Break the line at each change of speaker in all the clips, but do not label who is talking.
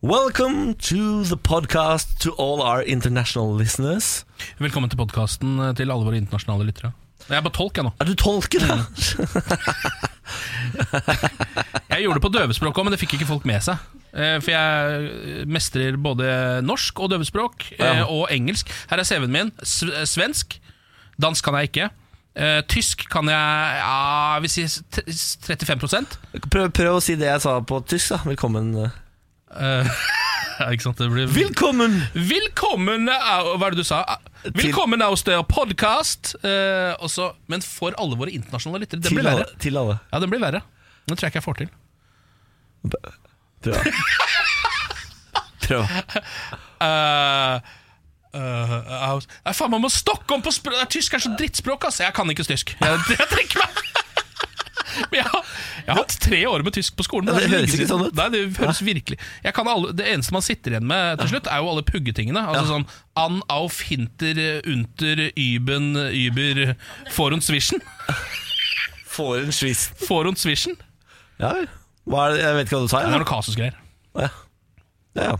Welcome to the podcast to all our international listeners.
Velkommen til podkasten til alle våre internasjonale lyttere. Jeg er bare tolk, jeg nå.
Er du tolker, da?
Jeg gjorde det på døvespråk òg, men det fikk ikke folk med seg. Eh, For jeg mestrer både norsk og døvespråk, eh,
Ja.
og engelsk. Her er CV-en min. Sv- eh, Svensk. Dansk kan jeg ikke. Eh, Tysk kan jeg ja, jeg vil si s- t- s- 35
Prøv, prøv å si det jeg sa på tysk, da. Velkommen. eh.
Eh, ja, Ikke sant? Det blir
Velkommen!
Velkommen eh, au- Hva er det du sa? Ah, Velkommen aus der podcast. Eh, og så- Men for alle våre internasjonale lyttere. Den
Til
blir verre.
alle. Til alle.
Ja, den blir verre. Den tror jeg ikke jeg får til.
Prøv. da. prøv.
Eh, eh, aus- Nei, faen, man må stokke om på språk! Nei, Tysk er så drittspråk, ass! Jeg kan ikke tysk. Jeg, jeg trekker meg! Men jeg, har- jeg har hatt tre år med tysk på skolen. men
Ja, det
er
høres
lenge
ikke
siden.
sånn ut.
Nei, det høres virkelig jeg kan alle, Det eneste man sitter igjen med til slutt, er jo alle puggetingene. Altså sånn An, auf, hinter, unter, üben, über, for und zwischen.
Får en svist.
For und zwischen.
Ja vel. Hva er det? Jeg vet ikke hva du sa.
Det er
jeg,
noe kasusgreier.
da. Ja. Ja, ja.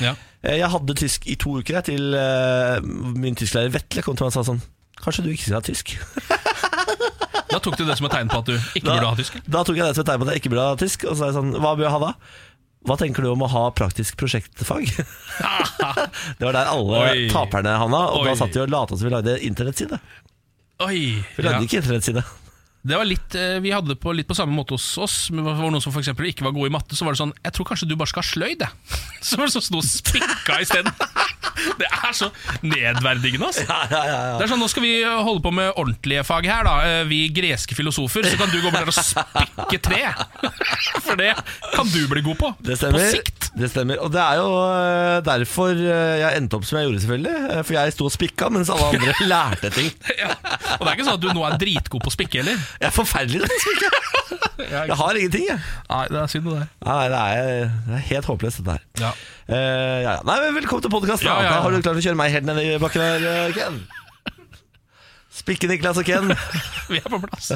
Ja.
Jeg hadde tysk i to uker jeg, til eh, min tysklærer Vetle kom til meg og sa sånn Kanskje du ikke skal ha tysk?
Da tok du det som et tegn på at du ikke
Da-
burde ha tysk.
Da tok jeg det som et tegn på at jeg ikke burde ha tysk. Og så sa jeg sånn, hva bør jeg ha da? Hva tenker du om å ha praktisk prosjektfag? det var der alle
Oi.
taperne havna. Og
Oi.
da satt vi og lata som vi lagde internettside.
Oi!
Vi lagde
ja.
ikke internettside.
Det var litt, eh, Vi hadde det på, litt på samme måte hos oss. Men det var noen som for eksempel ikke var gode i matte, så var det sånn Jeg tror kanskje du bare skal ha sløyd, jeg. Så var det sånn som sto og spikka isteden. Det er så nedverdigende, altså.
Ja, ja, ja, ja.
Det er sånn, Nå skal vi holde på med ordentlige fag her, da. Eh, Vi greske filosofer. Så kan du gå bort der og spikke tre. For det kan du bli god på.
Det stemmer.
På sikt.
Det stemmer. Og det er jo eh, derfor eh, jeg endte opp som jeg gjorde, selvfølgelig. Eh, For jeg sto og spikka mens alle andre lærte ting.
Ja. Og det er ikke sånn at du nå er dritgod på å spikke heller.
Jeg er forferdelig til å spikke. Jeg har ingenting, jeg.
Nei, det er synd, det der.
Nei, det er, det er helt håpløst, dette her.
Ja.
Eh, ja, ja. Nei, men velkommen til podkasten.
Ja, ja, ja.
Da har du klart å kjøre meg helt ned i bakken her, eh, Ken. Spikke Niklas og Ken.
Vi er på plass.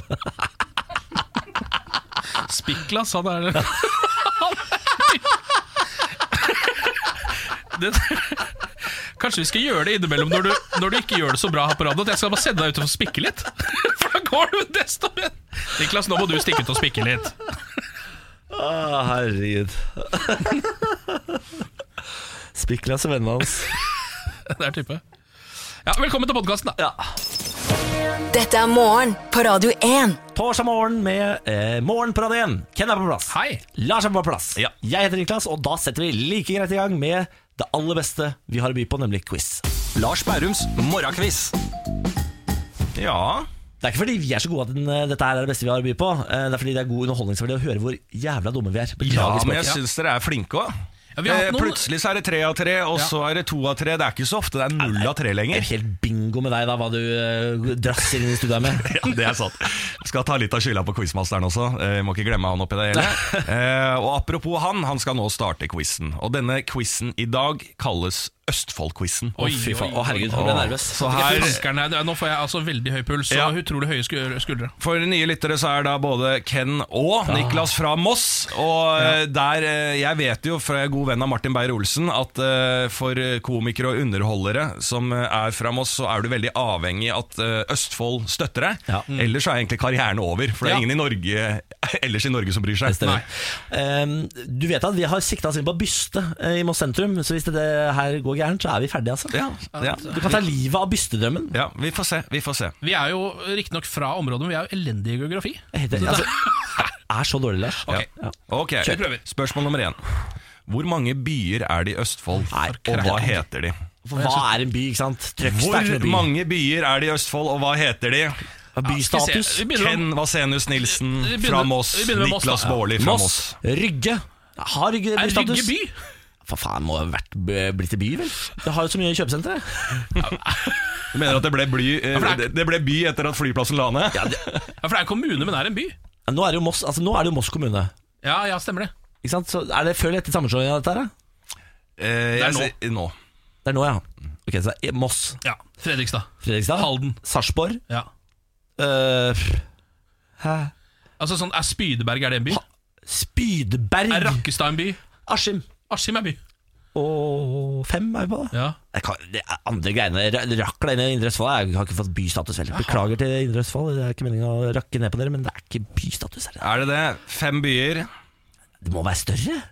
Spiklas, han er det, Kanskje vi skal gjøre det innimellom når du, når du ikke gjør det så bra her på radioen. At jeg skal bare sende deg ut og få spikke litt. For da går du desto bedre. Niklas, nå må du stikke ut og spikke litt.
Å, herregud. Spiklas og vennene hans.
Det er type. Ja, velkommen til podkasten, da.
Ja.
Dette er morgen på Radio 1.
Torsdag morgen med eh, Morgen på Radio 1. Ken er på plass.
Hei.
Lars er på plass. Jeg heter Niklas, og da setter vi like greit i gang med det aller beste vi har å by på, nemlig quiz.
Lars Bærums morgenquiz. Ja
Det er ikke fordi vi er så gode at den, eh, dette her er det beste vi har å by på. Eh, Det er fordi det er god underholdningsverdi å høre hvor jævla dumme vi er.
Ja,
Beklager
men
språket.
jeg syns dere er flinke òg.
Ja, vi har hatt noen-
Plutselig så er det tre av tre, og så er det to av tre. Det er ikke så ofte det er null av tre
Det er
lenger.
jo helt bingo med deg da, hva du eh, drasser inn i studioet med.
Ja, det er sant. Skal ta litt av skylda på quizmasteren også. Eh, må ikke glemme han oppi det hele. Eh, og apropos han, han skal nå starte quizen. Og denne quizen i dag kalles Østfoldquizen.
Oi,
Fy faen,
oi,
Å
oi.
herregud, nå ble jeg nervøs.
Så her
Raskeren her, Nå får jeg altså veldig høy puls
Ja.
og utrolig høye sku- skuldre.
For nye lyttere så er da både Ken og Niklas fra Moss. Og eh, der eh, Jeg vet jo fra jeg er god venn av Martin Beyer-Olsen at eh, for komikere og underholdere som eh, er fra Moss, så er du veldig avhengig at eh, Østfold støtter deg.
Ja.
Ellers er egentlig karrieren over, for det
Ja.
er ingen i Norge, ellers i Norge som bryr
Det
seg.
stemmer. Ehm, du vet at vi har sikta oss inn på byste eh, i Moss sentrum, så hvis det her går gærent, så er vi ferdige, altså.
Ja, ja.
Du kan ta livet av bystedrømmen.
ja, vi får se. Vi får se.
Vi er jo riktignok fra området, men vi er jo elendige i geografi.
Jeg heter- Altså, jeg er så dårlig, Lars.
Ok.
Ja.
Ok,
Kjør. Vi prøver.
Spørsmål nummer én. Hvor mange byer er det i Østfold,
Nei,
og hva
krakker.
heter de?
For hva er en by, ikke sant? Trøgstad er ikke
Hvor
noen by.
mange byer er det i Østfold, og hva heter de?
Skal vi se,
Bystatus.
Vi begynner om-
Ken Vasenus Nilsen
Vi begynner-
fra Moss.
vi begynner med Moss, da.
Niklas Baarli fra
Moss.
Moss.
Rygge. Har Rygge
Er
bystatus?
Rygge by?
For faen, må ha vært eh, blitt i by, vel? Det har jo så mye kjøpesentre.
Du mener at det ble, bly, eh,
for det
det, det ble by etter at flyplassen la ned?
Ja, for det er en kommune, men det er en by.
Nå er det jo Moss, altså, nå er det jo Moss kommune.
Ja, ja, stemmer det.
Ikke sant? Så er det før eller etter sammenslåingen av dette her? da?
Eh,
Det er
jeg
nå.
sier- nå.
Det er nå, ja. Ok, så det er Moss,
Ja, Fredrikstad.
Fredrikstad,
Halden.
Sarpsborg
Ja.
øh, Hæ?
Altså sånn, Er Spydeberg er det en by?
Spydeberg,
Er Rakkestad en by?
Askim,
Askim er by.
Og fem er vi på, da.
Ja.
Jeg kan, det er andre greiene Ra- Rakla inn i Indre Østfold Jeg har ikke fått bystatus heller. Beklager til Indre Østfold, det er ikke meningen å rakke ned på dere, men det er ikke bystatus her.
Er det det? Fem byer.
Det må være større.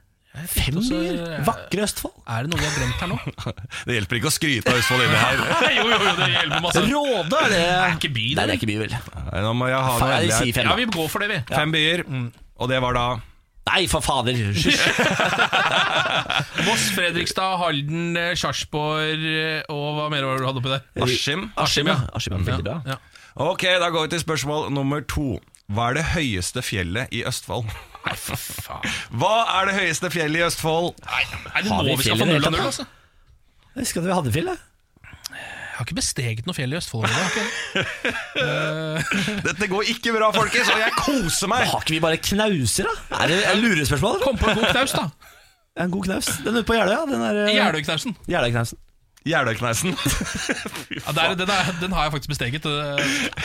Fem
også- eh,
byer? Vakre Østfold.
Er det noe vi har glemt her nå?
Det hjelper ikke å skryte av Østfold inni her.
jo, jo, jo, det hjelper masse.
Råde er det
er ikke by, altså, det.
Nei, det er ikke by, vel.
Nei, Nå må jeg ha noe
Faen, jeg
endelig
sier
her.
fem,
Ja,
da.
vi går for det, vi.
Fem byer, og det var da
Nei, for fader. Hysj.
Voss, Fredrikstad, Halden, eh, Sarpsborg eh, og hva mer var det du hadde oppi der?
Askim.
Askim, ja.
Askim er veldig bra.
Ja.
Ok, da går vi til spørsmål nummer to. Hva er det høyeste fjellet i Østfold?
Nei, for faen.
Hva er det høyeste fjellet i Østfold?
Nei, er det
Har vi
nå vi
fjell
skal
i det
få null
hele
av null,
tatt,
altså?
Jeg husker at vi hadde fjell, jeg.
Jeg har ikke besteget noe fjell i Østfold. Jeg, har ikke det.
Dette går ikke bra, folkens, og jeg koser meg!
Har ikke vi bare knauser, da? Er det er det lurespørsmål? eller?
Kom på en god knaus, da.
En god knaus. Den ute på Jeløya, ja. den er eh,
Jeløyknausen.
Jeløya-knausen.
Jeløykneisen.
Ja, det er- den, er- den har jeg faktisk besteget. eh,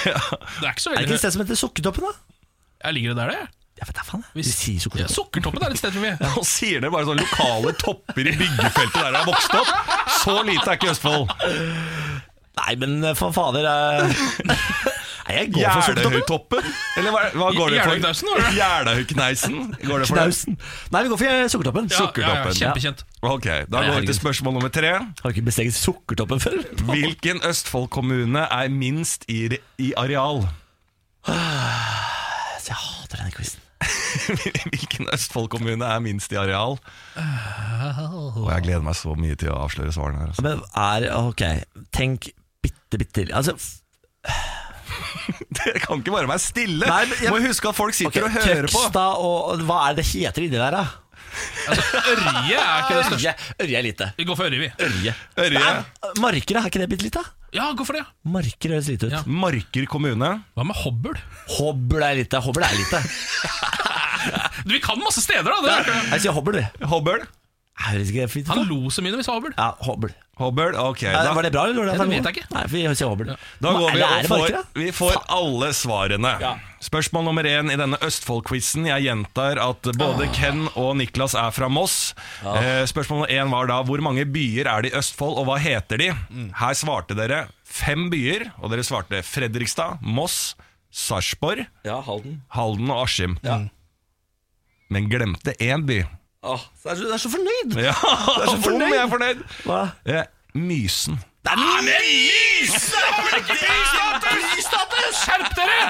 Det er ikke så
Er det ikke
veldig
et sted som heter Sukkertoppen, da?
Jeg ligger det der, det.
Jeg vet da faen, jeg.
Hvis-
Vi sier
Ja,
Sukkertoppen.
Sukkertoppen er et sted for mye.
Nå sier dere bare sånne lokale topper i byggefeltet der jeg har vokst opp. Så lite er ikke Østfold.
Nei, men eh, for fader eh. Nei, jeg går for Sukkertoppen.
Jeløytoppen? Eller hva, hva går det
Jeløykneisen,
for?
var det?
Jeløykneisen? Går det for det?
Knausen. Nei, vi går for eh, Sukkertoppen.
Ja, ja, ja,
Sukkertoppen.
kjempekjent.
Ok, da går vi
herregud.
til spørsmål nummer tre.
Har du ikke besteget Sukkertoppen før?
Hvilken Østfold-kommune er minst i, re- i areal?
Altså, jeg hater denne quizen.
Hvilken Østfold-kommune er minst i areal? Og jeg gleder meg så mye til å avsløre svarene her. Altså.
Men er Ok, tenk bitte, bitte litt. Altså, f-
Dere kan ikke bare være stille!
Nei, men jeg-
Må huske at folk
ok,
sitter og hører på!
Trøgstad og og Hva er det det heter inni der, da?
Altså, Ørje er ikke det største.
Ørje. Ørje er lite.
Vi går for Ørje, vi.
Ørje.
Ørje.
Marker, er ikke det bitte litt, da?
Ja, gå for det.
Marker høres lite ut.
Ja.
Marker kommune.
Hva med Hobøl?
Hobble er lite. Hobble er lite.
Du, Vi kan masse steder, da! Det er ikke-
Jeg sier hobble, vi.
Hobøl.
Høres ikke det fint ut?
Han
da?
lo så mye når vi sa Hobøl.
Ja, hobble.
Hobøl, ok
Nei,
da,
Var det bra, eller? var
Ja, det
feil?
vet jeg ikke.
Nei, vi sier hobble.
da går vi
Eller er
og
det
får,
marker, da?
vi får alle svarene. Spørsmål nummer én i denne Østfold-quizen. Jeg gjentar at
Ah.
både Ken og Niklas er fra Moss. Eh, Spørsmål nummer én var da hvor mange byer er det i Østfold, og hva heter de?
Mm.
Her svarte dere fem byer, og dere svarte Fredrikstad, Moss, Sarpsborg,
Ja, Halden.
Halden og Askim. Men glemte én by.
Åh, så er du er så fornøyd!
Ja, det er så
fornøyd.
fornøyd! Jeg er fornøyd.
Hva?
Eh, Mysen.
Det er myse! Bystatus!
Skjerp dere!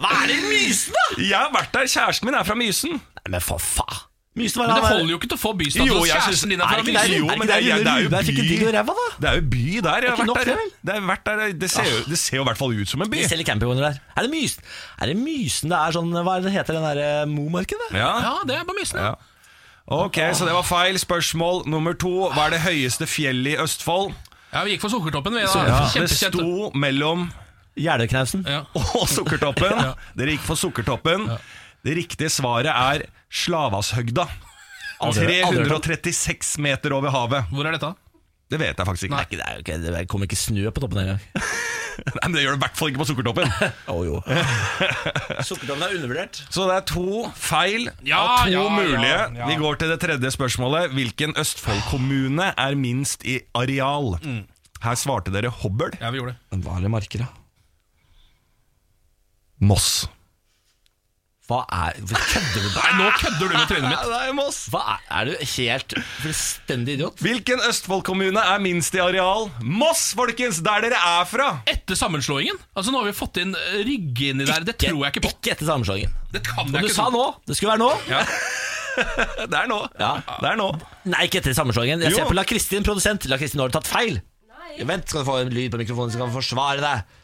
Hva er det i mysen, da?
Jeg har vært der, kjæresten min er fra Mysen.
Nei, men for faen. Mysen var
Men det holder jo ikke til å få bystatus.
Jo, jeg synes-
Kjæresten din er
Er
fra
det ikke
Mysen.
der,
Jo,
er
men
ikke der
det er- det er
Rune
jo
Rudberg fikk en
by.
deal i ræva, da?
Det er jo by der. Jeg
ikke
har vært
nok Ah. det,
der.
vel?
Det, er vært der. det ser jo det ser jo i hvert fall ut som en by.
De selger campingvogner der. Er det mysen? Er det mysen det er sånn Hva er det heter den derre Momarken, da?
Ja.
Ja, det er på Mysen.
Ja. Ok, så det var feil. Spørsmål nummer to. Hva er det høyeste fjellet i Østfold?
Ja, vi gikk for Sukkertoppen. Vi, da.
Det
Kjempekjent.
sto mellom
Jeløyknausen.
Ja.
og Sukkertoppen. Dere gikk for Sukkertoppen. Det riktige svaret er Slavashøgda.
Aldri- aldri hørt om.
336 meter over havet.
Hvor er dette?
Det vet jeg faktisk ikke.
Nei, ikke- det, er jo ikke, det kommer ikke snø på toppen engang.
Nei, men det gjør det i hvert fall ikke på Sukkertoppen.
Å jo. Sukkertoppen er undervurdert.
Så det er to feil
Ja,
av to
ja, ja,
mulige.
ja.
Vi går til det tredje spørsmålet. Hvilken Østfold-kommune er minst i areal? Her svarte dere Hobøl.
Ja, vi gjorde det.
Men hva er det marker, da?
Moss.
Hva er Hva Kødder du?
Nei, nå kødder du med trynet mitt.
det er Moss.
Hva er, er du helt fullstendig idiot?
Hvilken Østfold-kommune er minst i areal? Moss, folkens! Der dere er fra!
Etter sammenslåingen? Altså, nå har vi fått inn eh, Rygge inni der. Det tror jeg ikke på.
Ikke etter sammenslåingen.
Det kan
Og
jeg
du
ikke sånn.
sa
tro.
nå! Det skulle være nå.
Det er nå.
Ja.
Det er nå.
Nei, ikke etter sammenslåingen. Jeg
Jo.
ser på La Kristin, produsent. La Kristin, nå har du tatt feil. Vent, skal du få en lyd på mikrofonen som kan forsvare deg.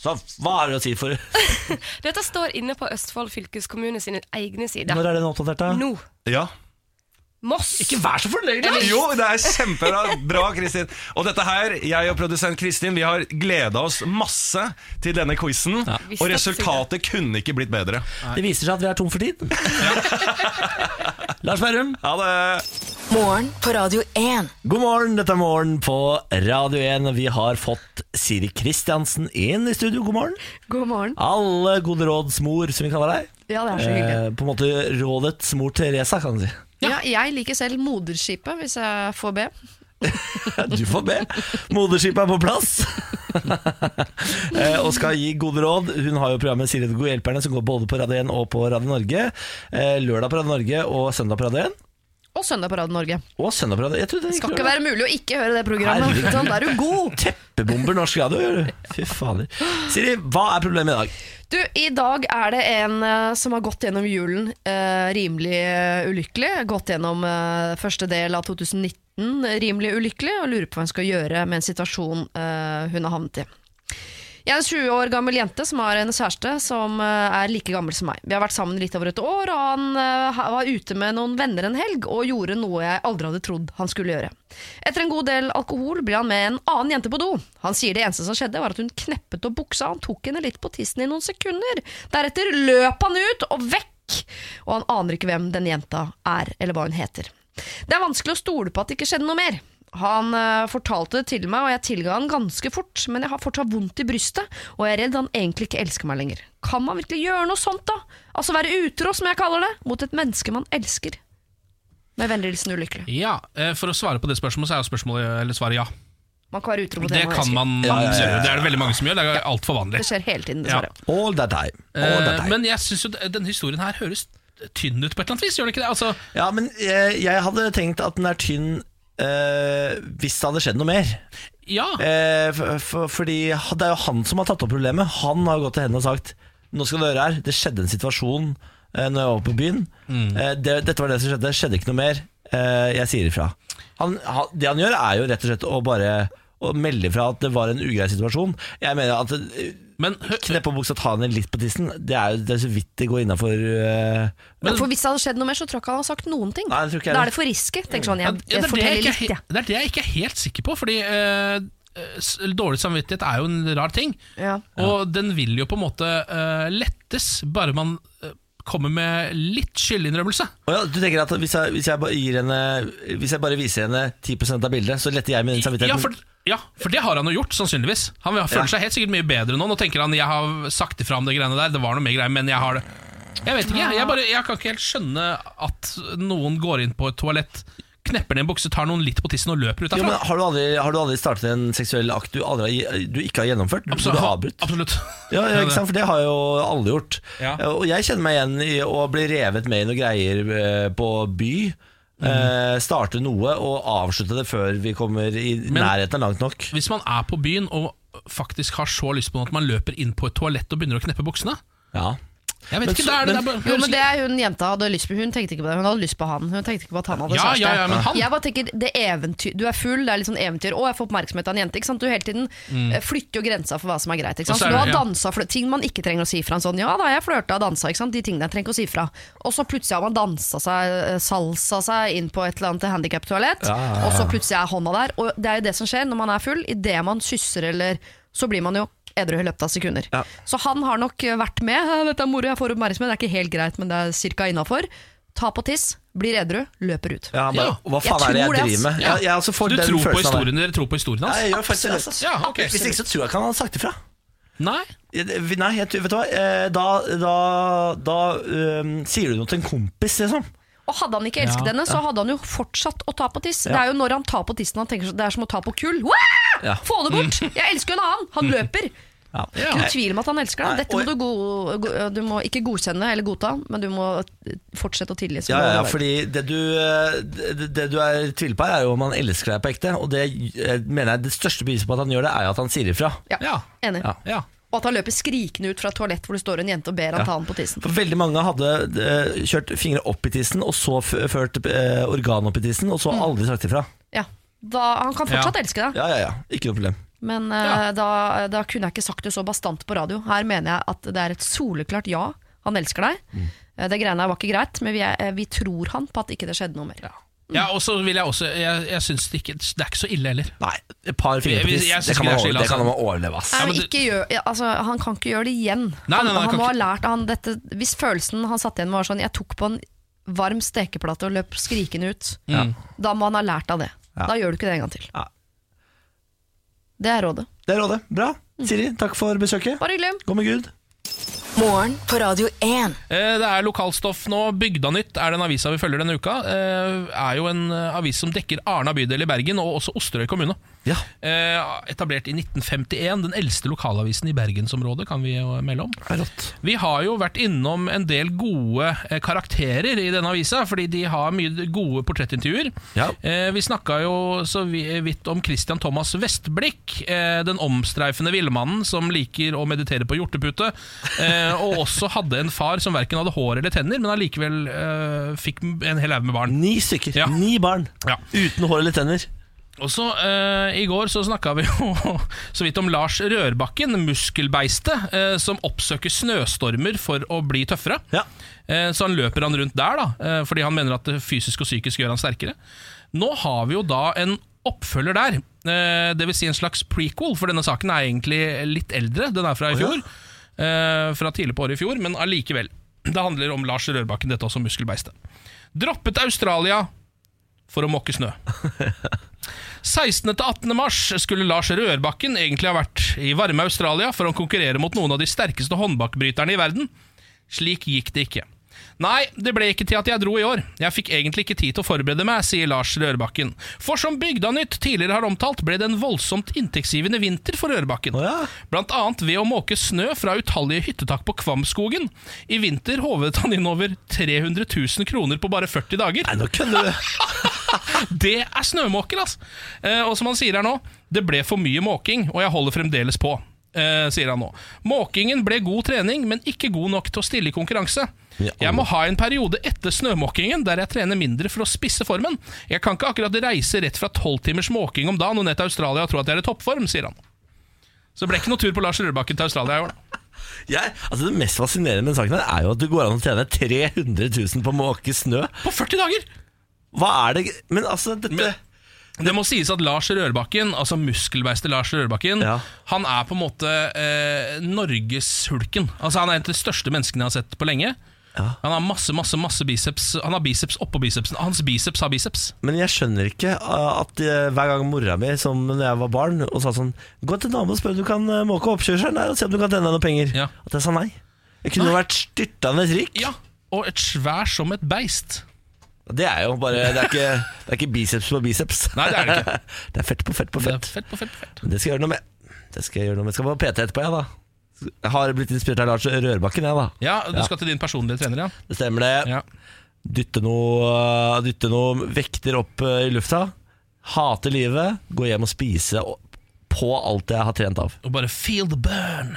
Så hva har du å si for
Dette står inne på Østfold fylkeskommune sine egne sider.
Når er den oppdatert, da?
Nå.
Ja.
Moss.
Ikke vær så fornøyd!
Ja,
eller?
men-
Jo, det er kjempebra, bra, Kristin. Og dette her, jeg og produsent Kristin, vi har gleda oss masse til denne quizen. Og resultatet kunne ikke blitt bedre.
Det viser seg at vi er tom for tid. Lars Berrum,
Ha det!
Morgen på Radio 1.
god morgen. Dette er Morgen på Radio 1. Vi har fått Siri Kristiansen inn i studio. God morgen.
God morgen.
Alle gode råds mor, som vi kaller deg.
Ja, det er så hyggelig.
Eh, på en måte rådets mor Teresa, kan du si.
Ja, jeg liker selv moderskipet, hvis jeg får be.
Du får be. Moderskipet er på plass. Eh, og skal gi gode råd. Hun har jo programmet Siri og de gode hjelperne, som går både på Radio 1 og på Radio Norge. Eh, Lørdag på Radio Norge og søndag på Radio 1.
Og Søndag på Radio Norge.
Og søndag på Radio 1. Jeg trodde det
Skal
gikk
ikke
lørdag.
være mulig å ikke høre det programmet.
Herregud.
Sånn, da er du god.
Teppebomber norsk radio, gjør du. Fy fader. Siri, hva er problemet i dag?
Du, i dag er det en eh, som har gått gjennom julen eh, rimelig eh, ulykkelig. Gått gjennom eh, første del av 2019 eh, rimelig ulykkelig, og lurer på hva hun skal gjøre med en situasjon eh, hun har havnet i. Jeg er en 20 år gammel jente som har en kjæreste som eh, er like gammel som meg. Vi har vært sammen litt over et år, og han eh, ha- var ute med noen venner en helg og gjorde noe jeg aldri hadde trodd han skulle gjøre. Etter en god del alkohol blir han med en annen jente på do. Han sier det eneste som skjedde, var at hun kneppet opp buksa, han tok henne litt på tissen i noen sekunder. Deretter løp han ut og vekk, og han aner ikke hvem den jenta er, eller hva hun heter. Det er vanskelig å stole på at det ikke skjedde noe mer. Han eh, fortalte det til meg, og jeg tilga han ganske fort, men jeg har fortsatt vondt i brystet, og jeg er redd han egentlig ikke elsker meg lenger. Kan man virkelig gjøre noe sånt, da? Altså være utro, som jeg kaller det, mot et menneske man elsker? Med vennlig hilsen ulykkelig.
Ja, eh, For å svare på det spørsmålet, så er jo spørsmålet eller svaret ja.
Man kan være utro mot
Det
en man
kan
elsker.
man
Ja, ja, ja, ja.
gjøre. Det er det veldig mange som gjør. Det er altfor vanlig.
Det skjer hele tiden, dessverre.
All that time. All that
Eh,
time.
Men jeg syns jo d- denne historien her høres tynn ut på et eller annet vis, gjør det ikke det? Altså,
Ja, men jeg, jeg hadde tenkt at den er tynn eh, hvis det hadde skjedd noe mer.
ja.
Eh, for, for, fordi det er jo han som har tatt opp problemet. Han har gått til henne og sagt Nå skal du høre her, det skjedde en situasjon eh, Når jeg var på byen.
Mm.
Eh, det, dette var det som skjedde, det skjedde ikke noe mer. Eh, jeg sier ifra. Han, han, det han gjør, er jo rett og slett å bare å melde ifra at det var en ugrei situasjon. Jeg mener at eh,
Men hø-
Kneppe på buksa, ta henne litt på tissen, det er jo det er så vidt det går innafor eh.
Ja, for hvis det hadde skjedd noe mer, så tror jeg ikke han hadde sagt noen ting.
Nei, det tror ikke jeg
da
det.
er det for risky. Tenk sånn,
Ja,
jeg,
ja, det,
jeg
er det, jeg
forteller
ikke,
litt,
er
jeg.
he- det er det jeg ikke er helt sikker på, fordi eh, s- dårlig samvittighet er jo en rar ting.
Ja.
Og den vil jo på en måte eh, lettes, bare man eh, kommer med litt skyldinnrømmelse.
Å ja, du tenker at hvis jeg, hvis, jeg bare gir henne, hvis jeg bare viser henne 10 av bildet, så letter jeg med den samvittigheten?
Ja for, ja, for det har han jo gjort, sannsynligvis. Han vil- føler
Ja.
seg helt sikkert mye bedre nå. Nå tenker han jeg har sagt ifra om det greiene der, det var noe mer greier, men jeg har det. Jeg vet ikke, jeg, jeg, bare, jeg kan ikke helt skjønne at noen går inn på et toalett, knepper ned en bukse, tar noen litt på tissen og løper ut
Jo, men
derfra.
har, du aldri, har du aldri startet en seksuell akt du, aldri, har- du ikke har gjennomført? Du, du har avbrutt?
Absolutt.
Ja, ja, ikke sant? For det har jo alle gjort.
Ja.
Eh, Og jeg kjenner meg igjen i å bli revet med i noen greier eh, på by.
Mm.
Eh, starte noe og avslutte det før vi kommer i nærheten av langt nok.
Hvis man er på byen og faktisk har så lyst på noe at man løper inn på et toalett og begynner å kneppe buksene
Ja.
Jeg
Men
vet ikke,
så-
det er det
men-
der bare
Jo, men det er hun jenta hadde lyst på. Hun tenkte ikke på det, hun hadde lyst på han. Hun tenkte ikke på at han hadde
Ja,
kjæreste.
ja, ja, men han-
Jeg bare tenker, det eventyr, Du er full, det er litt sånn eventyr. Å, jeg får oppmerksomhet av en jente. Ikke sant? Du hele tiden eh, flytter jo grensa for hva som er greit. Ikke
Mm. Og så
sant?
er
Så du
det-
har
ja.
dansa flø- ting man ikke trenger å si fra. En sånn, ja da, jeg flørta og dansa. Ikke sant? De tingene jeg trenger ikke å si fra. Og så plutselig har man dansa seg, eh, salsa seg inn på et eller annet handikaptoalett, og så plutselig er hånda der. Og det er jo det som skjer når man er full. Idet man kysser eller Så blir man jo edru i løpet av sekunder.
Ja.
Så han har nok eh, vært med. «Hæ, Dette er moro, jeg får oppmerksomhet. Det er ikke helt greit, men det er cirka innafor. Ta på tiss, blir edru, løper ut.
Ja, han bare,
Ja,
Hva faen
jeg
er det jeg
tror det, ass.
driver med?
Ja.
Jeg, jeg også får
Du
den
tror på
følelsen av det.
historien Dere tror på historien
Ja,
hans?
jeg gjør faktisk det. altså.
Ja, ok.
Hvis ikke så tror jeg ikke han hadde sagt ifra.
Nei?
Jeg- Nei, jeg, tror- vet du hva? Eh, Da, da, da øhm, sier du noe til en kompis, liksom.
Og hadde han ikke elsket
Ja,
henne, så hadde han jo fortsatt å ta på tiss. Det er jo når han tar på tissen han tenker så- det er som å ta på kull. Wow!
Ja. Mm.
Få det bort! Jeg elsker jo en annen! Han løper.
Ja.
Ikke noe tvil om at han elsker deg. Dette
Nei,
må du, go go du må ikke godkjenne eller godta, men du må fortsette å tilgi. som
Ja,
du
ja, ja,
har vært.
fordi det du, eh, det, det du er i tvil på, her er jo om han elsker deg på ekte. Og det eh, mener jeg det største beviset på at han gjør det, er jo at han sier ifra.
ja.
Ja.
Enig.
Ja.
Ja.
Og at han løper skrikende ut fra et toalett hvor det står en jente og ber han ta han på tissen.
For veldig mange hadde eh, kjørt fingre opp i tissen, og så f ført eh, organ opp i tissen, og så aldri sagt ifra.
Ja. Da, han kan fortsatt
Ja.
elske deg.
Ja, ja, ja. Ikke noe problem.
Men
Ja.
eh, da, da kunne jeg ikke sagt det så bastant på radio. Her mener jeg at det er et soleklart ja. Han elsker deg. Eh, Det greiene her var ikke greit, men vi, er, eh, vi tror han på at ikke det skjedde noe mer.
Ja, og så vil jeg også Jeg, jeg syns det ikke Det er ikke så ille heller.
Nei, et par fingre på
Jeg- jeg
tiss,
synes
det kan
ikke
man,
det er
over,
skyld,
det
altså.
kan man overleve, ass.
Nei, men
men det-
ikke gjør, ja, altså, han kan ikke gjøre det igjen.
Nei,
han
nei, nei,
han
kan
må ha
ikke-
lært han dette Hvis følelsen han satt igjen med var sånn Jeg tok på en varm stekeplate og løp skrikende ut, da må han ha lært av det. Da gjør du ikke det en gang til.
Ja.
Det er rådet.
Det er rådet. Bra. Siri, takk for besøket.
Bare hyggelig.
Gå med Gud.
Morgen på Radio 1.
Eh, Det er lokalstoff nå. Bygdanytt er den avisa vi følger denne uka. Eh, Er jo en eh, avis som dekker Arna bydel i Bergen, og også Osterøy kommune.
Ja.
Eh, Etablert i 1951. Den eldste lokalavisen i bergensområdet, kan vi jo melde om.
Det er rått.
Vi har jo vært innom en del gode eh, karakterer i denne avisa, fordi de har mye gode portrettintervjuer.
Ja.
Eh, Vi snakka jo så vi- eh, vidt om Christian Thomas Vestblikk, eh, den omstreifende villmannen som liker å meditere på hjortepute, eh, og også hadde en far som verken hadde hår eller tenner, men allikevel eh, fikk en hel haug med barn.
Ni stykker.
Ja.
Ni barn.
Ja.
Uten hår eller tenner.
Og så eh, I går så snakka vi jo så vidt om Lars Rørbakken, muskelbeistet, eh, som oppsøker snøstormer for å bli tøffere.
Ja.
Eh, så han løper han rundt der, da, eh, fordi han mener at det fysisk og psykisk gjør han sterkere. Nå har vi jo da en oppfølger der, eh, det vil Si en slags prequel, for denne saken er egentlig litt eldre. Den er fra i
ja.
fjor. eh, fra tidlig på året i fjor, men allikevel. Det handler om Lars Rørbakken, dette også muskelbeistet. Droppet Australia for å måke snø. 16. til 18. mars skulle Lars Rørbakken egentlig ha vært i varme Australia for å konkurrere mot noen av de sterkeste håndbakbryterne i verden. Slik gikk det ikke. Nei, det ble ikke til at jeg dro i år. Jeg fikk egentlig ikke tid til å forberede meg, sier Lars Rørbakken. For som Bygdanytt tidligere har omtalt, ble det en voldsomt inntektsgivende vinter for Rørbakken.
Å ja.
Blant annet ved å måke snø fra utallige hyttetak på Kvamskogen. I vinter håvet han inn over 300 000 kroner på bare 40 dager.
Nei, nå kødder du.
Det er snømåker, altså! Eh, og som han sier her nå, det ble for mye måking, og jeg holder fremdeles på. Eh, sier han nå. Måkingen ble god trening, men ikke god nok til å stille i konkurranse.
Ja.
Jeg må ha en periode etter snømåkingen der jeg trener mindre for å spisse formen. Jeg kan ikke akkurat reise rett fra tolv timers måking om dagen og ned til Australia og tro at jeg er i toppform, sier han. Så det ble ikke noe tur på Lars Rørbakken til Australia i år. da.
Jeg, altså det mest fascinerende med den saken her er jo at det går an å tjene 300 000 på å måke snø.
På 40 dager!
Hva er det Men altså, dette
Men- Det må sies at Lars Rørbakken, altså muskelbeistet Lars Rørbakken,
Ja.
han er på en måte eh, Norgeshulken. Altså, han er en av de største menneskene jeg har sett på lenge. Han har masse, masse, masse biceps. Han har biceps oppå bicepsen. Hans biceps har biceps.
Men jeg skjønner ikke uh, at uh, hver gang mora mi, som når jeg var barn, og sa sånn 'Gå til naboen og spør om du kan uh, måke oppkjørselen der, og se om du kan tjene deg noen penger',
Ja.
at jeg sa nei. Jeg kunne vært styrtende rik.
Ja, og et svær som et beist.
Det er jo bare Det er ikke, det er ikke biceps på biceps.
Nei, det er det ikke.
det er fett på fett på
Det er
fett.
fett på fett på fett.
Det skal jeg gjøre noe med. Det skal jeg gjøre noe med Jeg skal på PT etterpå, jeg, da. Jeg har blitt inspirert av Lars Rørbakken, jeg, da.
Ja, du
Ja.
skal til din personlige trener, ja.
Det stemmer det.
ja.
Dytte noe, eh, dytte noe vekter opp eh, i lufta. Hate livet. Gå hjem og spise og- på alt jeg har trent av.
Og bare feel the burn.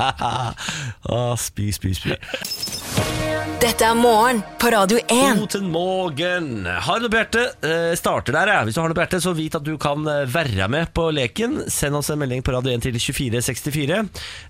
Ah, spy, spy, spy.
Dette er morgen på Radio 1.
Guten morgen. Har du noe på hjertet? Eh, starter der, jeg. Hvis du har noe på hjertet, så vit at du kan eh, være med på leken. Send oss en melding på radio 1 til 2464.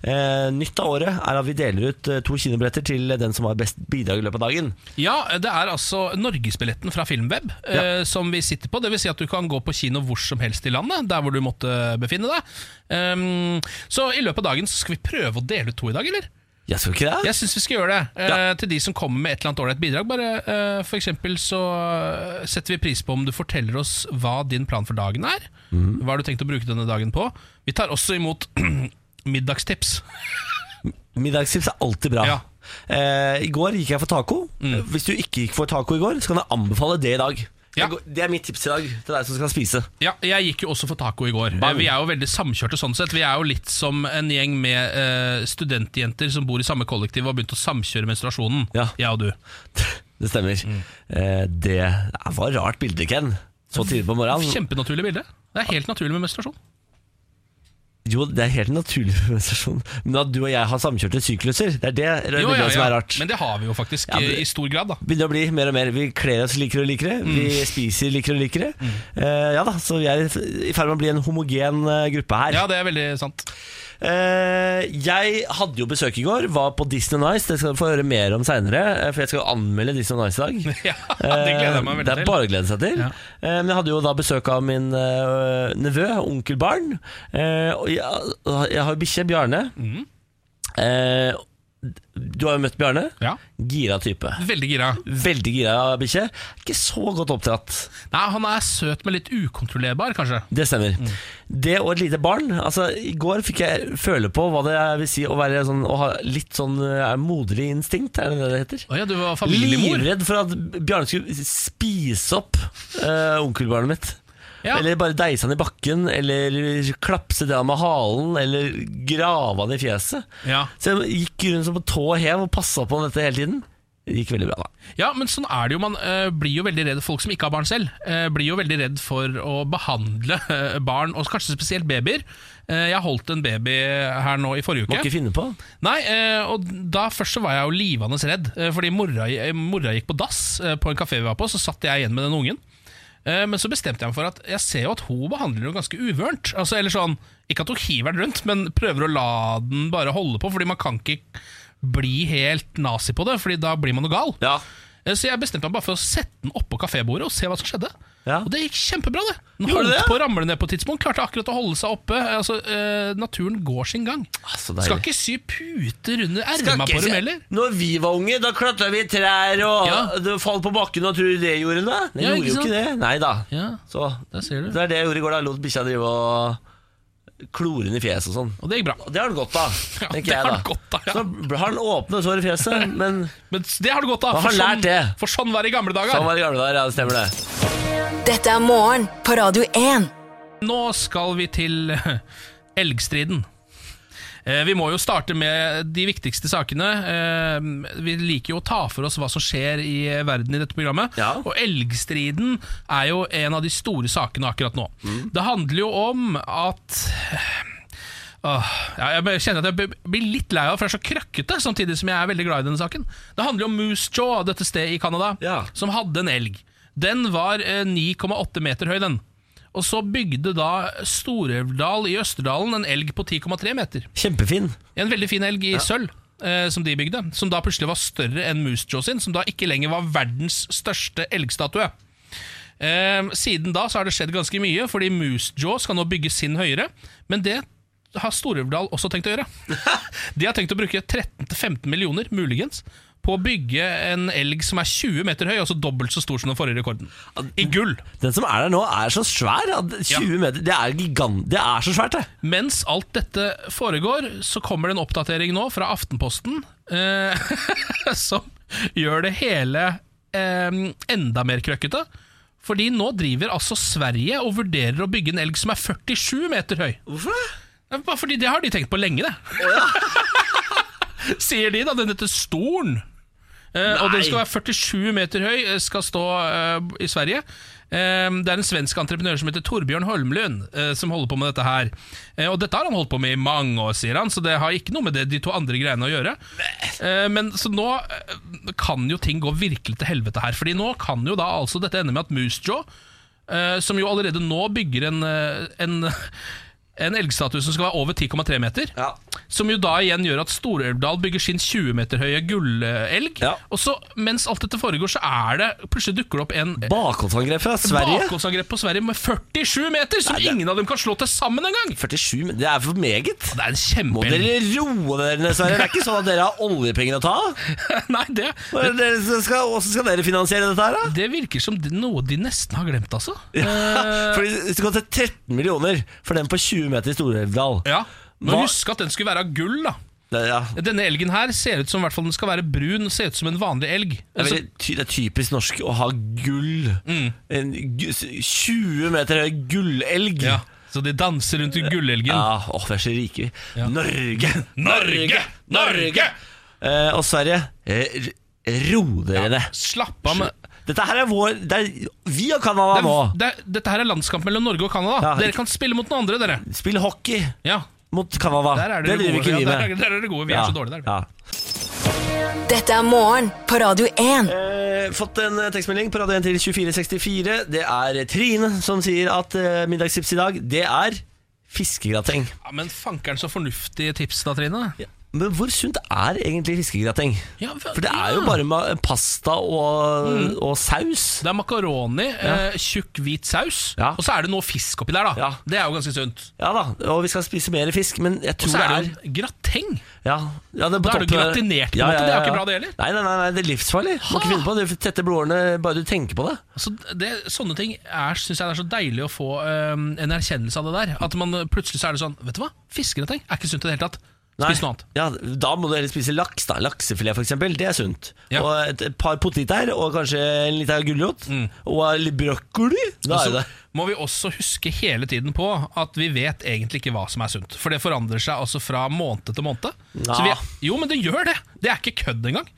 Eh, nytt av året er at vi deler ut eh, to kinobilletter til den som har best bidrag i løpet av dagen.
Ja, det er altså norgesbilletten fra Filmweb eh, som vi sitter på. Det vil si at du kan gå på kino hvor som helst i landet, der hvor du måtte befinne deg. Ehm, så i løpet av dagen så skal vi prøve å dele ut to i dag, eller?
Jeg skal ikke det.
Jeg syns vi skal gjøre det. eh, Til de som kommer med et eller annet ålreit bidrag. Bare, eh, for eksempel så eh, setter vi pris på om du forteller oss hva din plan for dagen er. Hva har du tenkt å bruke denne dagen på? Vi tar også imot middagstips.
Middagstips er alltid bra.
Ja. Mm.
Eh, I går gikk jeg for taco. Hvis du ikke gikk for taco i går, så kan jeg anbefale det i dag.
Ja.
Jeg går- Det er mitt tips i dag til deg som skal spise.
Ja, jeg gikk jo også for taco i går.
Bang.
Vi er jo veldig samkjørte sånn sett. Vi er jo litt som en gjeng med eh, studentjenter som bor i samme kollektiv og har begynt å samkjøre menstruasjonen.
Ja.
Jeg og du.
Det stemmer.
Mm.
Eh, det var rart bilde, Ken. Så tidlig på morgenen.
Kjempenaturlig bilde. Det er helt naturlig med menstruasjon.
Jo, det er helt en naturlig organisasjon. Men at du og jeg har samkjørte sykluser, det er det bildet
Jo, ja,
som er
ja.
rart.
Men det har vi jo faktisk
Ja, men-
eh, i stor grad, da.
Begynner å bli mer og mer. Vi kler oss likere og likere.
Mm.
Vi spiser likere og likere. Eh, ja da, Så vi er i- i ferd med å bli en homogen eh, gruppe her.
Ja, det er veldig sant.
Eh, jeg hadde jo besøk i går, var på Disney Nice. Det skal du få høre mer om seinere, for jeg skal jo anmelde Disney Nice i dag.
Ja, det gleder jeg meg
Eh,
veldig
Det er
til.
bare å glede seg til.
Ja.
Eh, Men jeg hadde jo da besøk av min eh, nevø,
Mm.
onkelbarn. Eh, Og jeg, jeg har jo bikkje, Bjarne. Eh, Du har jo møtt Bjarne.
Ja.
Gira type.
Veldig gira.
Veldig gira bikkje. Ikke så godt oppdratt.
Nei, Han er søt, men litt ukontrollerbar, kanskje.
Det stemmer. Det og et lite barn. Altså, I går fikk jeg føle på hva det vil si å, være sånn, å ha litt sånn eh, moderlig instinkt, er det det det heter?
Å ja, du var familiemor.
Livredd for at Bjarne skulle spise opp eh, onkelbarnet mitt.
Ja.
Eller bare deise han i bakken, eller klapse til han med halen, eller grave han i fjeset.
Ja.
Så jeg gikk rundt som på tå og hev og passa på dette hele tiden. Det gikk veldig bra, da.
ja, men sånn er det jo. Man eh, blir jo veldig redd folk som ikke har barn selv. eh, blir jo veldig redd for å behandle eh, barn, og kanskje spesielt babyer. Eh, jeg holdt en baby her nå i forrige uke.
Må ikke finne på.
Nei, eh, og da først så var jeg jo livende redd, eh, fordi mora, eh, mora gikk på dass eh, på en kafé vi var på, så satt jeg igjen med den ungen. Eh, Men så bestemte jeg meg for at jeg ser jo at hun behandler henne ganske uvørent. Altså, eller sånn, ikke at hun hiver den rundt, men prøver å la den bare holde på, fordi man kan ikke bli helt nazi på det, fordi da blir man noe gal.
Ja.
Eh, Så jeg bestemte meg bare for å sette den oppå kafébordet og se hva som skjedde.
Ja.
Og det gikk kjempebra, det. Den
Gjorde
holdt
det?
på å ramle ned på et tidspunkt, klarte akkurat å holde seg oppe. Eh, Altså, eh, naturen går sin gang.
Ah, så deilig.
Skal ikke sy puter under erma på dem heller.
Når vi var unge, da klatra vi i trær og
Ja.
det falt på bakken. Og tror du det gjorde noe? Det
Ja, ikke
gjorde jo
sant?
ikke det. Nei da.
Ja,
Så
der ser du.
det er det jeg gjorde i går. da Jeg Lot bikkja drive og klore henne i fjeset og sånn.
Og det gikk bra.
Og det har den godt av,
Ja,
tenker
det
jeg
har
da.
den godt av, ja.
Så bl- har den åpne sår i fjeset, men
Men det har du godt av.
Man har
for
lært det.
For sånn var det i gamle dager.
sånn var det i gamle dager. Ja, det stemmer det.
Dette er morgen på Radio 1.
Nå skal vi til eh, elgstriden. Eh, Vi må jo starte med de viktigste sakene. Eh, Vi liker jo å ta for oss hva som skjer i verden i dette programmet.
Ja.
Og elgstriden er jo en av de store sakene akkurat nå. Det handler jo om at Åh, ja, jeg bare kjenner at jeg b- blir litt lei av for jeg er så krøkkete, samtidig som jeg er veldig glad i denne saken. Det handler jo om Moose Jaw, dette stedet i Canada,
Ja.
som hadde en elg. Den var eh, 9,8 meter høy, den. Og så bygde da Storelvdal i Østerdalen en elg på 10,3 meter.
Kjempefin.
En veldig fin elg i sølv. eh, Som de bygde, som da plutselig var større enn Moose Jaw sin, som da ikke lenger var verdens største elgstatue. Eh, Siden da så har det skjedd ganske mye, fordi Moose Jaw skal nå bygge sin høyere. Men det har Storulvdal også tenkt å gjøre. De har tenkt å bruke 13-15 millioner, muligens, på å bygge en elg som er 20 meter høy, altså dobbelt så stor som den forrige rekorden. I gull.
Den som er der nå, er så svær. at 20 meter, Det er gigant. Det er så svært, det.
Mens alt dette foregår, så kommer det en oppdatering nå fra Aftenposten eh, som gjør det hele eh, enda mer krøkkete. Fordi nå driver altså Sverige og vurderer å bygge en elg som er 47 meter høy.
Hvorfor det?
Det er Bare fordi det har de tenkt på lenge, det. Sier de, da. Den heter Storn. Eh, og den skal
Nei.
være 47 meter høy, eh, skal stå eh, i Sverige. Eh, det er en svensk entreprenør som heter Torbjørn Holmlund eh, som holder på med dette her. Eh, og dette har han holdt på med i mange år, sier han, så det har ikke noe med det, de to andre greiene å gjøre. Eh, men så nå eh, kan jo ting gå virkelig til helvete her, Fordi nå kan jo da altså dette ende med at Moosejaw, eh, som jo allerede nå bygger en, eh, en en elgstatus som skal være over 10,3 meter.
Ja.
Som jo da igjen gjør at Storelvdal bygger sin 20 meter høye gullelg.
Ja.
Og så mens alt dette foregår, så er det plutselig dukker det opp en
Bakholdsangrep fra Sverige.
bakholdsangrep på Sverige med 47 meter, som
Nei, det-
ingen av dem kan slå til sammen engang!
47 men Det er for meget.
Det er en
Må
kjempeelg.
dere roe dere ned, Sverre. Det er ikke sånn at dere har oljepenger å ta av.
Nei, det,
Hva er det dere som skal- Hvordan skal dere finansiere dette her, da?
det virker som noe de nesten har glemt, altså. Eh,
Fordi Hvis du går til 13 millioner for den på 20 meter i Storelvdal
ja. Men
Hva-
husk at den skulle være av gull, da.
det, ja.
Denne elgen her ser ut som i hvert fall den skal være brun, ser ut som en vanlig elg.
det, er
Altså,
veldig, ty- det er typisk norsk å ha gull.
Mm.
En gu- 20 meter høy gullelg.
ja. Så de danser rundt i gullelgen.
Ja, åh, vi er så rike. vi. Norge!
Norge! Norge!
Eh, og Sverige, eh, ro dere ned.
Slapp av med
Dette her er vår det er, Vi og Canada
det,
nå.
er- det, er- Dette her er landskamp mellom Norge og Canada.
Ja,
dere
ikke-
kan spille mot noen andre, dere.
Spill hockey
Ja,
mot Canada.
der er
Ah, Det
dere
driver
gode.
ikke vi
Ja,
med.
der, er, der er dere gode. Vi
Ja,
er så dårlige der.
ja.
Dette er morgen på Radio 1.
Eh, fått en eh, tekstmelding på radio 1 til 2464. Det er eh, Trine som sier at eh, middagstips i dag, det er fiskegrateng.
Ja, men fankeren så fornuftige tips da, Trine.
Men hvor sunt er egentlig fiskegrateng?
Ja, vel,
For det er jo
ja. Mm.
bare ma- pasta og, og saus.
Det er makaroni, eh, tjukk hvit saus,
Ja.
og så er det noe fisk oppi der. da
Ja.
Det er jo ganske sunt.
Ja da, og vi skal spise mer fisk, men jeg
Og
tror
så
det
er
er
det jo grateng.
ja, ja, det er på
Da er det
toppen der.
gratinert, på en måte. Det er jo ikke bra, det heller.
Nei, nei, nei, nei, det er livsfarlig. Må ikke finne på det. Du tetter blodårene bare du tenker på det.
Altså, det, sånne ting er, synes jeg det er så deilig å få eh, en erkjennelse av det der. At man eh, plutselig så er det sånn Vet du hva, fiskegrateng er ikke sunt i det hele tatt.
Nei.
Spis noe annet.
Ja, da må du heller spise laks. da Laksefilet, f.eks. Det er sunt.
Ja.
Og et, et par poteter og kanskje en liten gulrot.
Mm.
Og litt brokkoli. Da er
Altså,
det
må vi også huske hele tiden på at vi vet egentlig ikke hva som er sunt. For det forandrer seg altså fra måned til måned. Så
Ja.
vi er, jo, men det gjør det! Det er ikke kødd engang.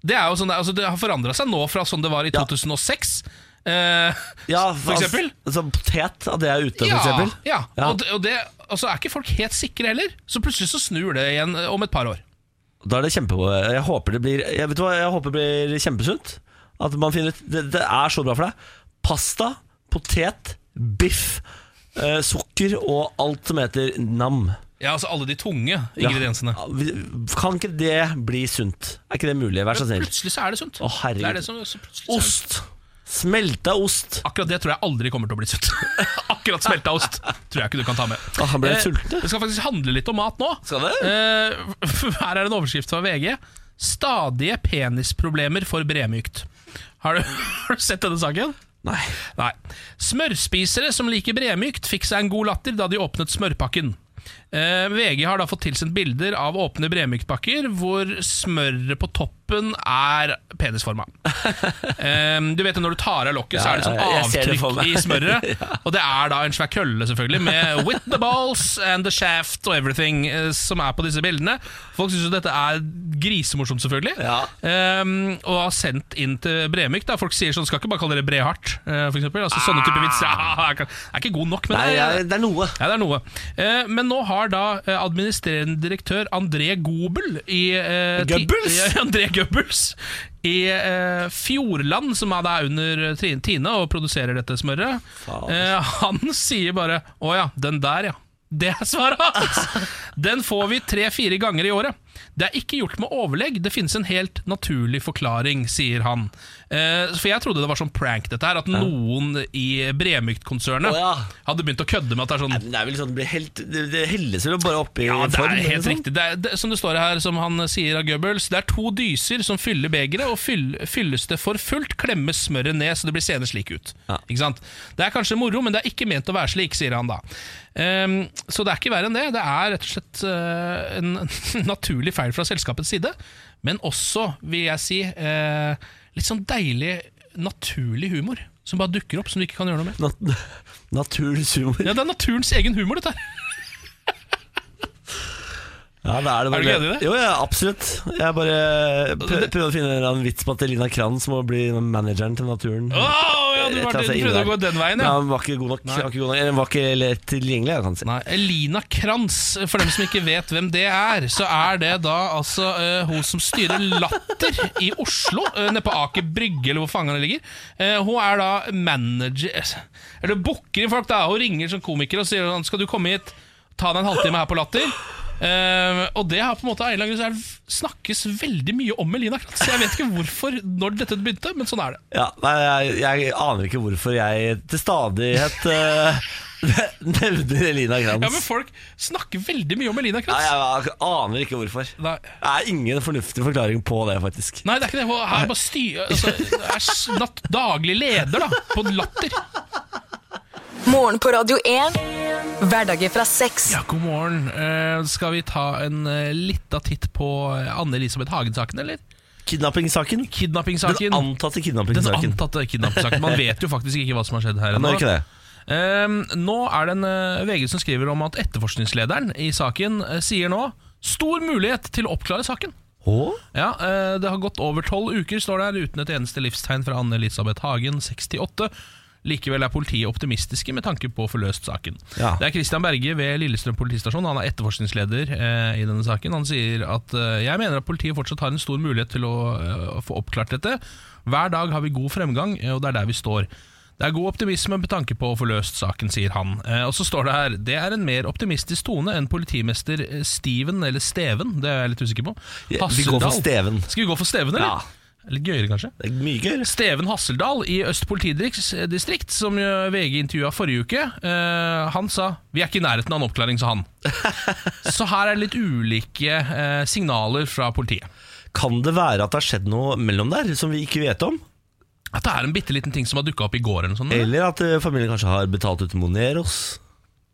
Det, er jo sånn, det er- altså, det har forandra seg nå fra sånn det var i 2006. eh,
ja,
for eksempel?
Altså, potet, at det er ute,
ja,
for eksempel.
ja.
Ja.
Og, det, og det altså, er ikke folk helt sikre heller. Så plutselig så snur det igjen eh, om et par år.
Da er det kjempe Jeg håper det blir Jeg vet du hva, jeg håper det blir kjempesunt At man finner ut Det, det er så bra for deg Pasta, potet, biff eh, Sukker og alt som heter nam
Ja, altså alle de tunge ingrediensene.
Ja, vi- Kan ikke det bli sunt? Er ikke det mulig? Vær så snill
Plutselig så er det sunt.
Å, herregud.
det er det som, så plutselig så er det sunt.
Ost Smelta ost
Akkurat det tror jeg aldri kommer til å bli sunt. Akkurat smelta ost tror jeg ikke du kan ta med.
Å, Ah, han ble
Eh,
litt sulten.
Vi skal faktisk handle litt om mat nå.
Skal det?
Eh, her er en overskrift fra VG. 'Stadige penisproblemer for bremykt'. Har du, har du sett denne saken?
Nei
Nei. Smørspisere som liker bremykt, fikk seg en god latter da de åpnet smørpakken. Eh, VG har da fått tilsendt bilder av åpne bremyktpakker hvor smøret på toppen er penisforma. Eh, du vet jo når du tar av lokket, så er det sånn
Ja, ja, ja, jeg ser det for
avtrykk
meg.
i smøret. Og det er da en svær kølle, selvfølgelig, med 'with the balls and the shaft og everything' eh, som er på disse bildene. Folk syns jo dette er grisemorsomt, selvfølgelig.
Ja.
Ehm, og har sendt inn til Bremyk. Da. Folk sier sånn, skal ikke bare kalle dere Brehardt, eh, for eksempel. Altså, sånne type vitser ah, er ikke- er ikke god nok, men
Nei,
det
ja,
er,
det er noe
ja, det er noe. Eh, men nå har da eh, administrerende direktør André Gobel i eh, ti-
Goebbels?
Ja, André Goebbels i eh, Fjordland, som er da under Tri- Tine og produserer dette smøret, eh, han sier bare Å ja, den der, ja. Det er svaret hans! Den får vi tre-fire ganger i året. Det er ikke gjort med overlegg, det finnes en helt naturlig forklaring, sier han. Eh, for jeg trodde det var sånn prank, dette her, at noen i Bremykt-konsernet
Å ja.
hadde begynt å kødde med at det er sånn
Men Det er vel sånn Det, blir helt, det, det helles vel bare oppi
ja, det
form,
er
eller
helt
sånn?
riktig. Det er, det, som det står her, som han sier av Goebbels, det er to dyser som fyller begeret, og fyll, fylles det for fullt, klemmes smøret ned så det blir seende slik ut. Ikke sant? Det er kanskje moro, men det er ikke ment å være slik, sier han da. Ehm, så det er ikke verre enn det. Det er rett og slett eh, en naturlig feil fra selskapets side, men også, vil jeg si, eh, litt sånn deilig, naturlig humor. Som bare dukker opp, som du ikke kan gjøre noe med.
Nat Naturens humor
Ja, Det er naturens egen humor, dette her.
Ja, det er, det
Er du
bare-
ikke enig i det?
Jo, ja, absolutt. Jeg bare prøv, prøvde å finne en eller annen vits på at Elina Kranz må bli manageren til Naturen. altså
Åh, ja, du,
Et eller
var,
annet
du
sted
prøvde
inni
å gå
der.
den veien,
Nei,
ja.
han var ikke god nok. Han var ikke, god nok. Eller, han var ikke lett tilgjengelig, jeg kan si.
Nei, Elina Kranz, for dem som ikke vet hvem det er, så er det da altså eh, hun som styrer Latter i Oslo, eh, nede på Aker Brygge, eller hvor fangen det ligger. Eh, hun er da manager eh, Eller booker inn folk, da. Hun ringer som komiker og sier sånn Skal du komme hit, ta deg en halvtime her på Latter? Eh, og det har på en måte av en eller annen grunn så er det- snakkes veldig mye om Elina Kranz. Jeg vet ikke hvorfor, når dette begynte, men sånn er det.
Ja, nei, jeg, jeg aner ikke hvorfor jeg til stadighet eh, nevner Elina Kranz.
Ja, men folk snakker veldig mye om Elina
Nei,
Kranz.
jeg aner ikke hvorfor. Det
Nei.
er ingen fornuftig forklaring på det, faktisk.
Nei, det er ikke det. Hun er bare styr... Altså, er s- natt, daglig leder, da, på Latter.
Morgen på Radio 1. Hverdager fra seks.
Ja, god morgen. Eh, skal vi ta en uh, lita titt på eh, Anne-Elisabeth Hagen-saken, eller?
Kidnappingssaken?
Kidnappingssaken.
Den antatte
Den
kidnappingssaken.
antatte kidnappingssaken. Man vet jo faktisk ikke hva som har skjedd her
Men er det ikke det?
Ehm, nå er det en eh, VG som skriver om at etterforskningslederen i saken eh, sier nå stor mulighet til å oppklare saken.
Å?
Ja, eh, Det har gått over tolv uker, står det her, uten et eneste livstegn fra Anne-Elisabeth Hagen, 68. Likevel er politiet optimistiske med tanke på å få løst saken.
Ja.
Det er Christian Berge ved Lillestrøm politistasjon. Han er etterforskningsleder eh, i denne saken. Han sier at eh, jeg mener at politiet fortsatt har en stor mulighet til å eh, få oppklart dette. Hver dag har vi god fremgang, eh, og det er der vi står. Det er god optimisme med tanke på å få løst saken, sier han. Eh, og så står det her det er en mer optimistisk tone enn politimester eh, Steven, eller Steven, det er jeg litt usikker på.
Ja, vi går for
Hasseldal.
Steven.
Skal vi gå for Steven, eller? Litt gøyere, kanskje?
Det er mye gøyere.
Steven Hasseldal i Øst politidistrikt, som jo VG intervjua forrige uke, eh, han sa 'vi er ikke i nærheten av en oppklaring', sa han. Så her er det litt ulike eh, signaler fra politiet.
Kan det være at det har skjedd noe mellom der som vi ikke vet om?
At det er en bitte liten ting som har dukka opp i går, eller noe sånt.
Eller at eh, familien kanskje har betalt ut Moneros?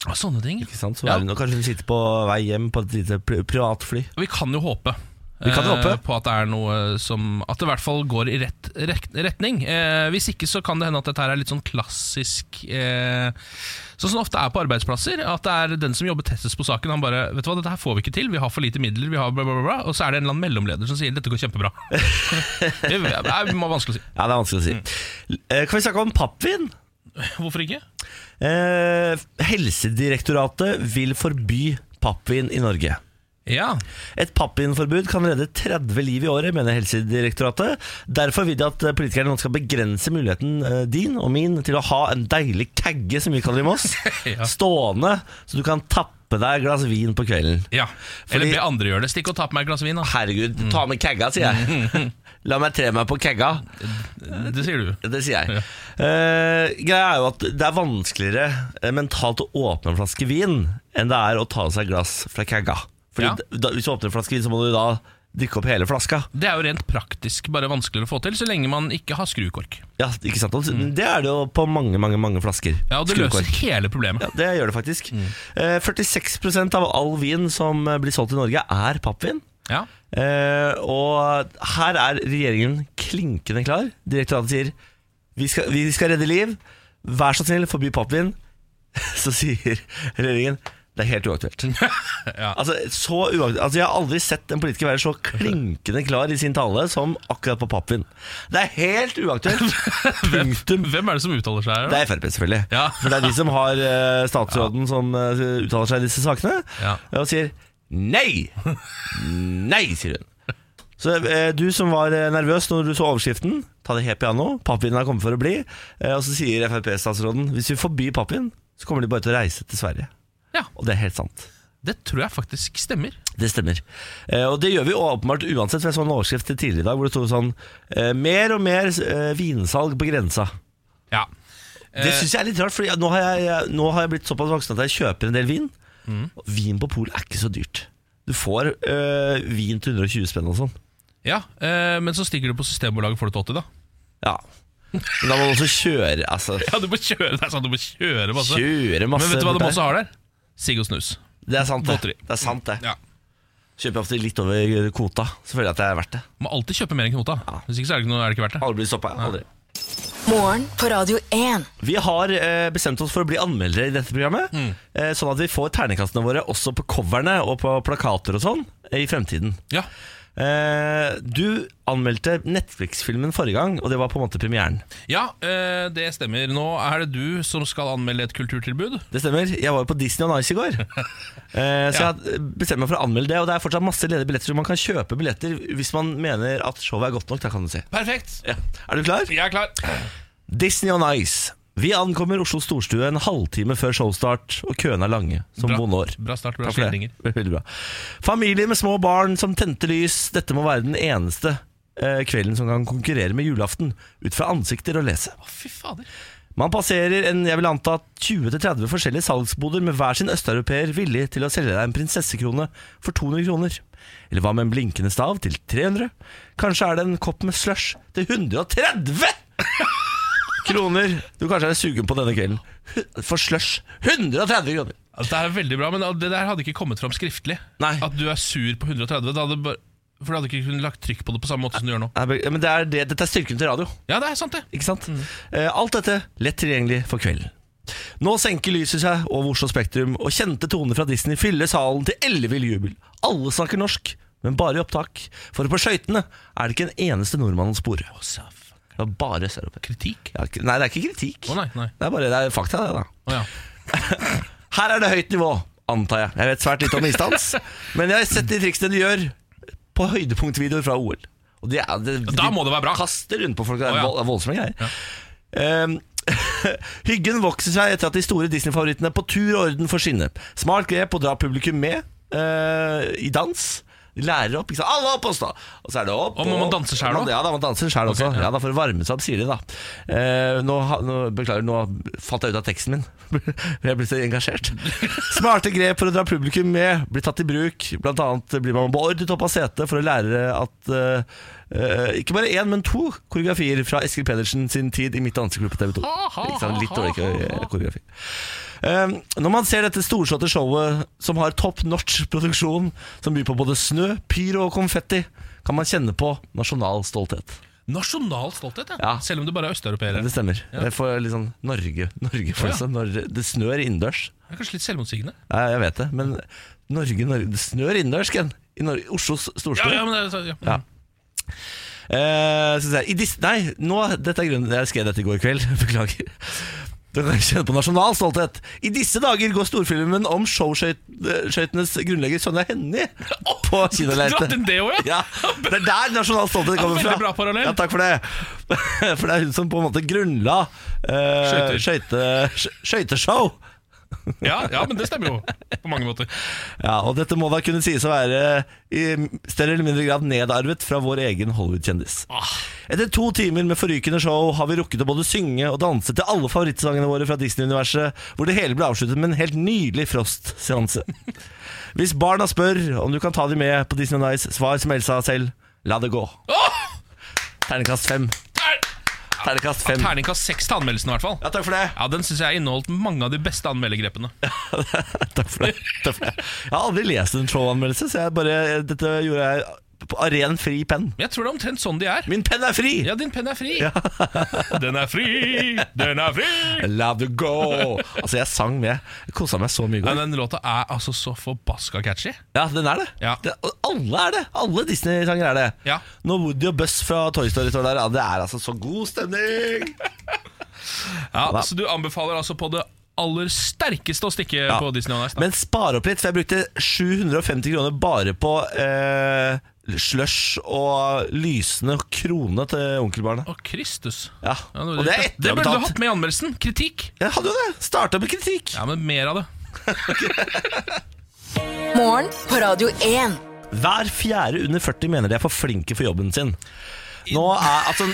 Ja, Sånne ting.
Ikke sant? Så
Ja.
er hun, og kanskje hun sitter på vei hjem på et lite pri- privatfly.
Vi kan jo håpe.
Vi kan jo
eh,
håpe.
På at det er noe som At det i hvert fall går i rett, rett, retning. Eh, hvis ikke så kan det hende at dette her er litt sånn klassisk eh, Sånn som det ofte er på arbeidsplasser. At det er den som jobber tettest på saken, han bare 'Vet du hva, dette her får vi ikke til. Vi har for lite midler.' vi har bla bla bla, bla Og så er det en eller annen mellomleder som sier 'dette går kjempebra'. det er det må være vanskelig å si.
Ja, det er vanskelig å si.
Mm.
Eh, Kan vi snakke om pappvin?
Hvorfor ikke?
Eh, helsedirektoratet vil forby pappvin i Norge.
Ja.
Et pappvinforbud kan redde 30 liv i året, mener Helsedirektoratet. Derfor vil de at politikerne nå skal begrense muligheten eh, din og min til å ha en deilig kagge, som vi kaller det i Moss,
Ja.
stående, så du kan tappe deg et glass vin på kvelden.
ja. Eller
Fordi-
be andre gjøre det. Stikk og ta på meg et glass vin, da.
Herregud, ta med kagga, sier jeg. La meg tre meg på kagga.
Det sier du.
Det sier jeg. Eh, greia er jo at det er vanskeligere eh, mentalt å åpne en flaske vin enn det er å ta seg et glass fra kagga. Fordi
Ja.
da, Hvis du åpner en flaske vin, så må du da drikke opp hele flaska.
Det er jo rent praktisk bare vanskeligere å få til, så lenge man ikke har skrukork.
Ja, ikke sant? Og Det er det jo på mange, mange, mange flasker.
Mm. Ja, og det løser Mm.
Skrukork.
hele problemet.
Ja, det gjør det faktisk. Eh, 46 av all vin som eh, blir solgt i Norge, er pappvin.
Ja.
Eh, og her er regjeringen klinkende klar. Direktoratet sier vi skal, vi skal redde liv, vær så snill, forby pappvin. Så sier regjeringen det er helt uaktuelt.
Ja.
altså, så uaktuelt. Altså, jeg har aldri sett en politiker være så klinkende klar i sin tale som akkurat på pappvin. Det er helt uaktuelt! Punktum.
Hvem er det som uttaler seg her?
Det
da?
er Frp, selvfølgelig.
Ja.
For det er de som har eh, statsråden som eh, uttaler seg i disse sakene,
Ja.
og sier nei! Nei, sier hun. Så eh, du som var eh, nervøs når du så overskriften, ta det helt piano. Pappvinen har kommet for å bli. Eh, og så sier Frp-statsråden hvis vi forbyr pappvin, så kommer de bare til å reise til Sverige.
Ja.
Og det er helt sant.
Det tror jeg faktisk stemmer.
Det stemmer. Eh, og det gjør vi åpenbart uansett. For jeg så en overskrift til tidligere i dag hvor det sto sånn eh, Mer og mer eh, vinsalg på grensa.
Ja.
Det
Eh,
syns jeg er litt rart, for nå, har jeg- jeg- nå har jeg blitt såpass voksen at jeg kjøper en del vin.
Mm.
Og Vin på polet er ikke så dyrt. Du får øh, vin til 120 spenn og sånn.
Ja, eh, Men så stikker du på Systembolaget og får det til 80, da.
Ja. Men da må du også kjøre, altså.
Ja, Du må kjøre det er sant, du må kjøre masse.
Kjøre masse
Men vet du hva de
borti
også har der? Sigg og snus.
her. Det er sant, det.
Godteri.
Det er sant det
Ja.
Kjøper ofte litt over eh, kvota. Så føler jeg at det er verdt det.
Må alltid kjøpe mer enn knota. Hvis ikke så er det ikke, noe, er det ikke verdt det.
Aldri blir stoppa. Aldri.
Morgen på Radio 1.
Vi har eh, bestemt oss for å bli anmeldere i dette programmet.
Mm.
Eh, sånn at vi får terningkastene våre også på coverne og på plakater og sånn eh, i fremtiden.
Ja.
Eh, du anmeldte Netflix-filmen forrige gang, og det var på en måte premieren.
ja, eh, det stemmer. Nå er det du som skal anmelde et kulturtilbud.
Det stemmer. Jeg var jo på Disney on Ice i går. Eh, så jeg bestemte meg for å anmelde det. Og det er fortsatt masse ledige billetter, så man kan kjøpe billetter hvis man mener at showet er godt nok. Da kan du si.
Perfekt.
Ja. Er du klar?
Jeg er klar.
Disney on Ice. Vi ankommer Oslo storstue en halvtime før showstart, og køene er lange, som
Bra.
bon år.
Bra start, bra
Takk for det.
skildringer.
Veldig bra. Familier med små barn som tente lys. Dette må være den eneste eh, kvelden som kan konkurrere med julaften, ut fra ansikter og lese.
Å, fy fader.
Man passerer en jeg vil anta 20-30 forskjellige salgsboder med hver sin østeuropeer villig til å selge deg en prinsessekrone for 200 kroner. Eller hva med en blinkende stav til 300? Kanskje er det en kopp med slush til 130 kroner du kanskje er sugen på denne kvelden. For slush 130 kroner!
Altså, det er veldig bra, men det der hadde ikke kommet fram skriftlig.
Nei.
At du er sur på 130. Det hadde bare, for du hadde ikke kunnet lagt trykk på det på samme måte som du gjør nå.
Nei, Men det er det, dette er styrken til radio.
Ja, det er sant, det.
Ikke sant? Eh, Alt dette lett tilgjengelig for kvelden. Nå senker lyset seg over Oslo Spektrum, og kjente toner fra Disney fyller salen til ellevill jubel. Alle snakker norsk, men bare i opptak. For på skøytene er det ikke en eneste nordmann å spore. Det var bare østeuropeere.
Kritikk?
Ja, ikke- Nei, det er ikke kritikk.
Å nei, nei.
Det er bare det er fakta, det, da.
Å ja.
Her er det høyt nivå, antar jeg. Jeg vet svært lite om isdans, men jeg har sett de triksene de gjør på høydepunktvideoer fra OL. Og de er, de,
Da må det være bra.
De kaster rundt på folk, det er
Å, ja.
vold- voldsomme greier. Um, Hyggen vokser seg etter at de store Disney-favorittene på tur og orden får skinne. Smart grep å dra publikum med eh, i dans. De lærer opp. Ikke sant? Alle opp og stå! Og så er det opp.
Og må man danse selv
Man-
også?
Ja da, man danser sjæl også. ja. da, For å varme seg opp, sier de da. Eh, nå, ha- nå, beklager, nå falt jeg ut av teksten min. jeg ble så engasjert. Smarte grep for å dra publikum med blir tatt i bruk. Blant annet blir man beordret opp av setet for å lære at eh, eh, ikke bare én, men to koreografier fra Eskil Pedersen sin tid i Mitt ansiktsklubb på TV 2. Ikke sant? Litt dårlig eh, koreografi. Eh, når man ser dette storslåtte showet som har top notch produksjon, som byr på både snø, pyro og konfetti, kan man kjenne på nasjonal stolthet.
Nasjonal stolthet, ja.
Ja.
Selv om du bare er østeuropeer.
Det stemmer. Jeg får litt sånn Norge, Norge for
Ja.
sånn, når det snør innendørs.
Det er kanskje litt selvmotsigende.
Ja, jeg vet det, men Norge, Norge Det snør innendørs, Ken. I Nor Oslos
Ja,
storstue.
ja, men det, er så- ja.
Ja. Eh, så sier jeg, i dis Nei, nå, dette er grunnen Jeg skrev dette i går kveld, beklager Du kan kjenne på nasjonal stolthet I disse dager går storfilmen om showskøytenes grunnlegger Sonja Hennie På
Dratt
kinoleite
inn det også, ja.
ja, Det er der nasjonal stolthet kommer
Ja,
fra
veldig bra parallell.
Ja, takk for det For det er hun som på en måte grunnla eh, skøyte- skø- Skøyteshow
ja! Ja, men det stemmer jo. På mange måter.
Ja, og dette må da kunne sies å være i større eller mindre grad nedarvet fra vår egen Hollywood-kjendis.
Ah.
Etter to timer med forrykende show har vi rukket å både synge og danse til alle favorittsangene våre fra Disney-universet, hvor det hele ble avsluttet med en helt nydelig Frost-seanse. Hvis barna spør om du kan ta dem med på Disney on Ice, svar som Elsa selv la det gå. Ternekast fem.
Ter-
Ternekast fem.
Terningkast seks til anmeldelsen, i hvert fall.
Ja, takk for det.
Ja, Den syns jeg inneholdt mange av de beste anmeldergrepene.
Takk for det. Takk for det. Jeg har aldri lest en showanmeldelse, så jeg bare, dette gjorde jeg på- av ren fri penn.
Men jeg tror det er omtrent sånn de er.
Min penn er fri!
Ja, din penn er fri. Den er fri, den er fri.
Love to go Altså jeg sang med Jeg koset meg så mye i
Ja,
går
den låta er altså så forbaska catchy.
Ja, den er det,
Ja.
det og Alle er det Alle Disney-sanger er det
Ja.
Når Woody og Buzz fra Toy Story står der ja, Det er altså så god stemning
Ja, Så du anbefaler altså på det aller sterkeste å stikke på Disney On Ice? da.
Men spar opp litt For jeg brukte 750 kroner bare på eh, Slush og lysende krone til onkelbarnet
Å, Kristus.
Ja,
Ja,
og det er
det burde du
etterbetalt
hatt med i anmeldelsen. Kritikk.
Jeg hadde jo det Startet med kritikk
Ja, men mer av det.
Morgen på Radio 1.
Hver fjerde under 40 mener de er for flinke for jobben sin. Nå er altså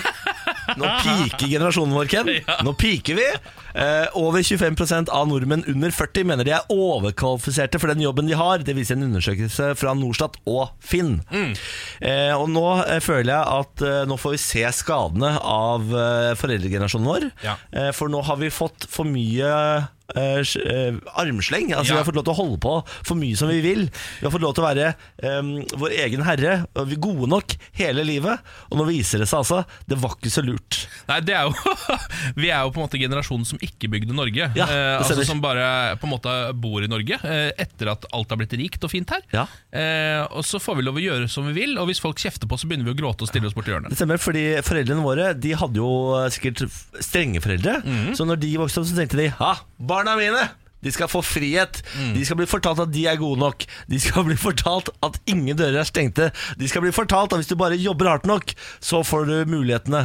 Nå piker generasjonen vår, Ken. Nå piker vi. Eh, over 25 av nordmenn under 40 mener de er overkvalifiserte for den jobben de har. Det viser en undersøkelse fra Norstat og Finn. Eh, og nå eh, føler jeg at eh, nå får vi se skadene av eh, foreldregenerasjonen vår.
Ja.
Eh, for nå har vi fått for mye eh, sj- eh, armsleng. Altså
Ja.
Vi har fått lov til å holde på for mye som vi vil. Vi har fått lov til å være em, vår egen herre, og vi er gode nok hele livet. Og nå viser det seg altså, det var ikke så lurt.
Nei, det er jo Vi er jo på en måte generasjonen som ikke bygde Norge.
Ja, det
eh, altså
stemmer.
Som bare på en måte bor i Norge eh, etter at alt har blitt rikt og fint her.
Ja.
Eh, og så får vi lov å gjøre som vi vil, og hvis folk kjefter på, så begynner vi å gråte og stille oss borti hjørnet.
Det stemmer, fordi foreldrene våre De hadde jo eh, sikkert f- strenge foreldre. Så når de vokste opp, så tenkte de Ha, barna mine! De skal få frihet. De skal bli fortalt at de er gode nok. De skal bli fortalt at ingen dører er stengte. De skal bli fortalt at hvis du bare jobber hardt nok, så får du mulighetene.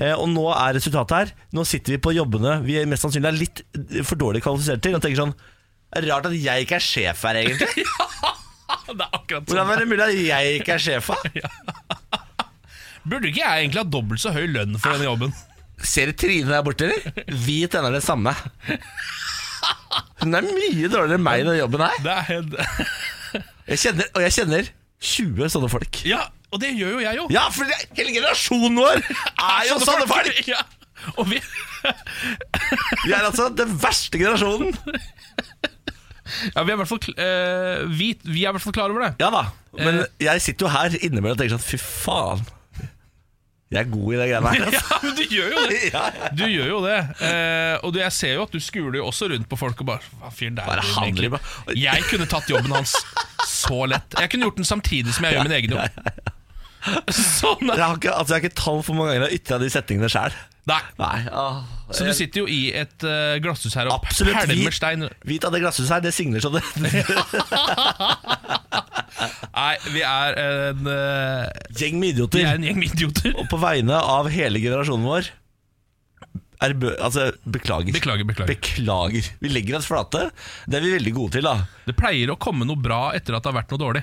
Eh, og nå er resultatet her. Nå sitter vi på jobbene vi er mest sannsynlig er litt eh, for dårlig kvalifisert til, og tenker sånn "Det er Rart at jeg ikke er sjef her, egentlig.
Det er akkurat
Hvordan er det mulig at jeg ikke er sjef? da?
Burde ikke jeg egentlig ha dobbelt så høy lønn for denne jobben?
Ser du Trine der borte, eller? Vi tjener det samme. Hun er mye dårligere enn meg i den jobben her.
Det er helt
Jeg kjenner, og jeg kjenner 20 sånne folk.
Ja, og det gjør jo jeg jo.
Ja, for det, hele generasjonen vår er
altså,
jo sånn sånne folk!
Ja. Og vi,
Vi er altså den verste generasjonen.
ja, vi, er i hvert fall, kl- eh, vi, vi er i hvert fall klar over det.
Ja da, men jeg sitter jo her innimellom og tenker sånn fy faen. Jeg er god i det greiene her. altså.
Ja, men du gjør jo det!
Ja,
Du gjør jo det. Eh, og du, jeg ser jo at du skuler jo også rundt på folk og bare Hva fyren der
Bare han
driver med egentlig?»
driver med-
Jeg kunne tatt jobben hans så lett. Jeg kunne gjort den samtidig som jeg gjør min egen jobb. Sånn er
Jeg har ikke, altså, jeg har ikke tall for hvor mange ganger jeg har ytra de setningene sjæl.
Nei.
Nei, ah,
Så du sitter jo i et eh, glasshus her og
absolutt
pælmer
hvit,
stein.
hvit av det glasshuset her, det signer så det.
Nei, vi er en, eh,
Gjeng med
vi
idioter.
er en gjeng med idioter.
Og på vegne av hele generasjonen vår ærbø... Altså, beklager.
Beklager, beklager.
Beklager. Vi legger oss flate. Det er vi veldig gode til, da.
Det pleier å komme noe bra etter at det har vært noe dårlig.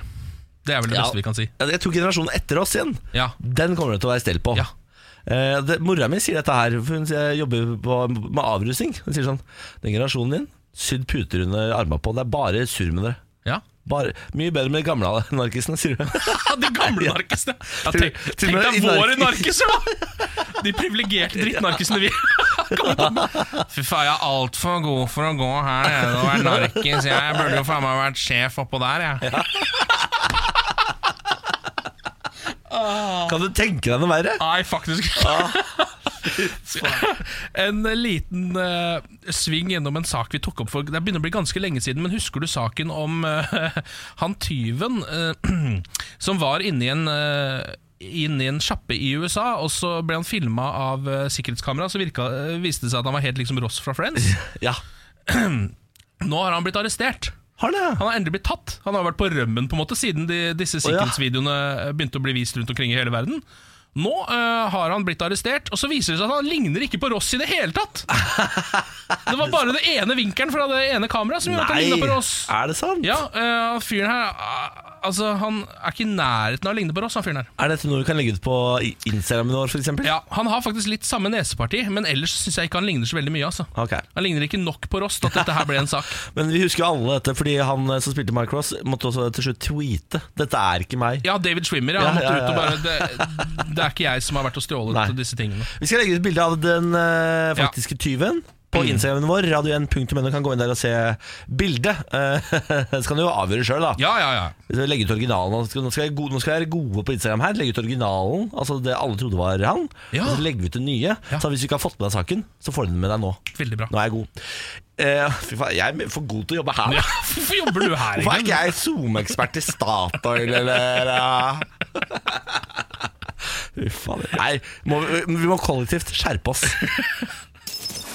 Det er vel det
Ja.
beste vi kan si.
Jeg tror generasjonen etter oss igjen,
Ja.
den kommer det til å være stell på.
Ja.
Eh, det, mora mi sier dette her, for hun sier- jobber på, med avrusing. Hun sier sånn Den generasjonen din, sydd puter under armene på. Det er bare surr med dere.
Ja. Ah,
Bare, mye bedre med de gamle narkisene, sier hun.
De gamle narkisene! Ja,
Til-
tenk,
til og
tenk
med
deg
i
våre
narkis-
narkiser, da! De privilegerte drittnarkisene vi kommer på. Fy faen, jeg er altfor god for å gå her nede og være narkis. Jeg burde jo faen meg vært sjef oppå der, jeg.
Kan du tenke deg noe verre?
Nei, faktisk En liten eh, sving gjennom en sak vi tok opp for Det begynner å bli ganske lenge siden, men husker du saken om eh, han tyven eh, som var inni en eh, Inni en sjappe i USA, og så ble han filma av eh, sikkerhetskamera. Så virka, eh, viste det seg at han var helt liksom Ross fra Friends.
Ja.
Nå har han blitt arrestert.
Har det, ja.
Han har endelig blitt tatt. Han har vært på rømmen på en måte siden de, disse
ja.
sikkerhetsvideoene eh, begynte å bli vist rundt omkring i hele verden. Nå eh, har han blitt arrestert, og så viser det seg at han ligner ikke på Ross i det hele tatt! Det var bare det ene vinkelen fra det ene kameraet som gjorde at han ligna på Ross.
er det sant?
Ja, eh, fyren her eh, Altså, han er ikke i nærheten av å ligne på Ross, han fyren her.
Er dette noe vi kan legge ut på i- Instagramen vår, f.eks.?
Ja, Han har faktisk litt samme neseparti, men ellers syns jeg ikke han ligner så veldig mye. altså
Ok.
Han ligner ikke nok på Ross til at dette her ble en sak.
Men vi husker jo alle dette, fordi han eh, som spilte Mike Ross, måtte også til slutt tweete 'Dette er ikke meg'.
Ja, David Schwimmer. Ja,
Ja,
han måtte
ja, ja,
ut og bare det, det er ikke jeg som har vært og stjålet
Nei.
disse tingene.
Vi skal legge ut bilde av den eh, faktiske tyven på
Mm.
Instagramen vår. Radio1.no kan gå inn der og se bildet. Eh, så kan du jo avgjøre sjøl, da.
Ja, ja, ja.
Vi skal Legge ut originalen. Nå skal, nå, skal jeg, go- nå skal jeg være gode på Instagram her. Legge ut originalen, altså det alle trodde var han.
Ja.
Og så legger vi ut det nye.
Ja.
Så hvis du ikke har fått med deg saken, så får du den med deg nå.
Veldig bra.
Nå er jeg god. Eh, fy faen, jeg er for god til å jobbe her.
Ja, hvorfor jobber du her?
Hvorfor er
egentlig?
ikke jeg SoMe-ekspert i Statoil, eller eh? Fy faen. Nei, må vi, vi må kollektivt skjerpe oss.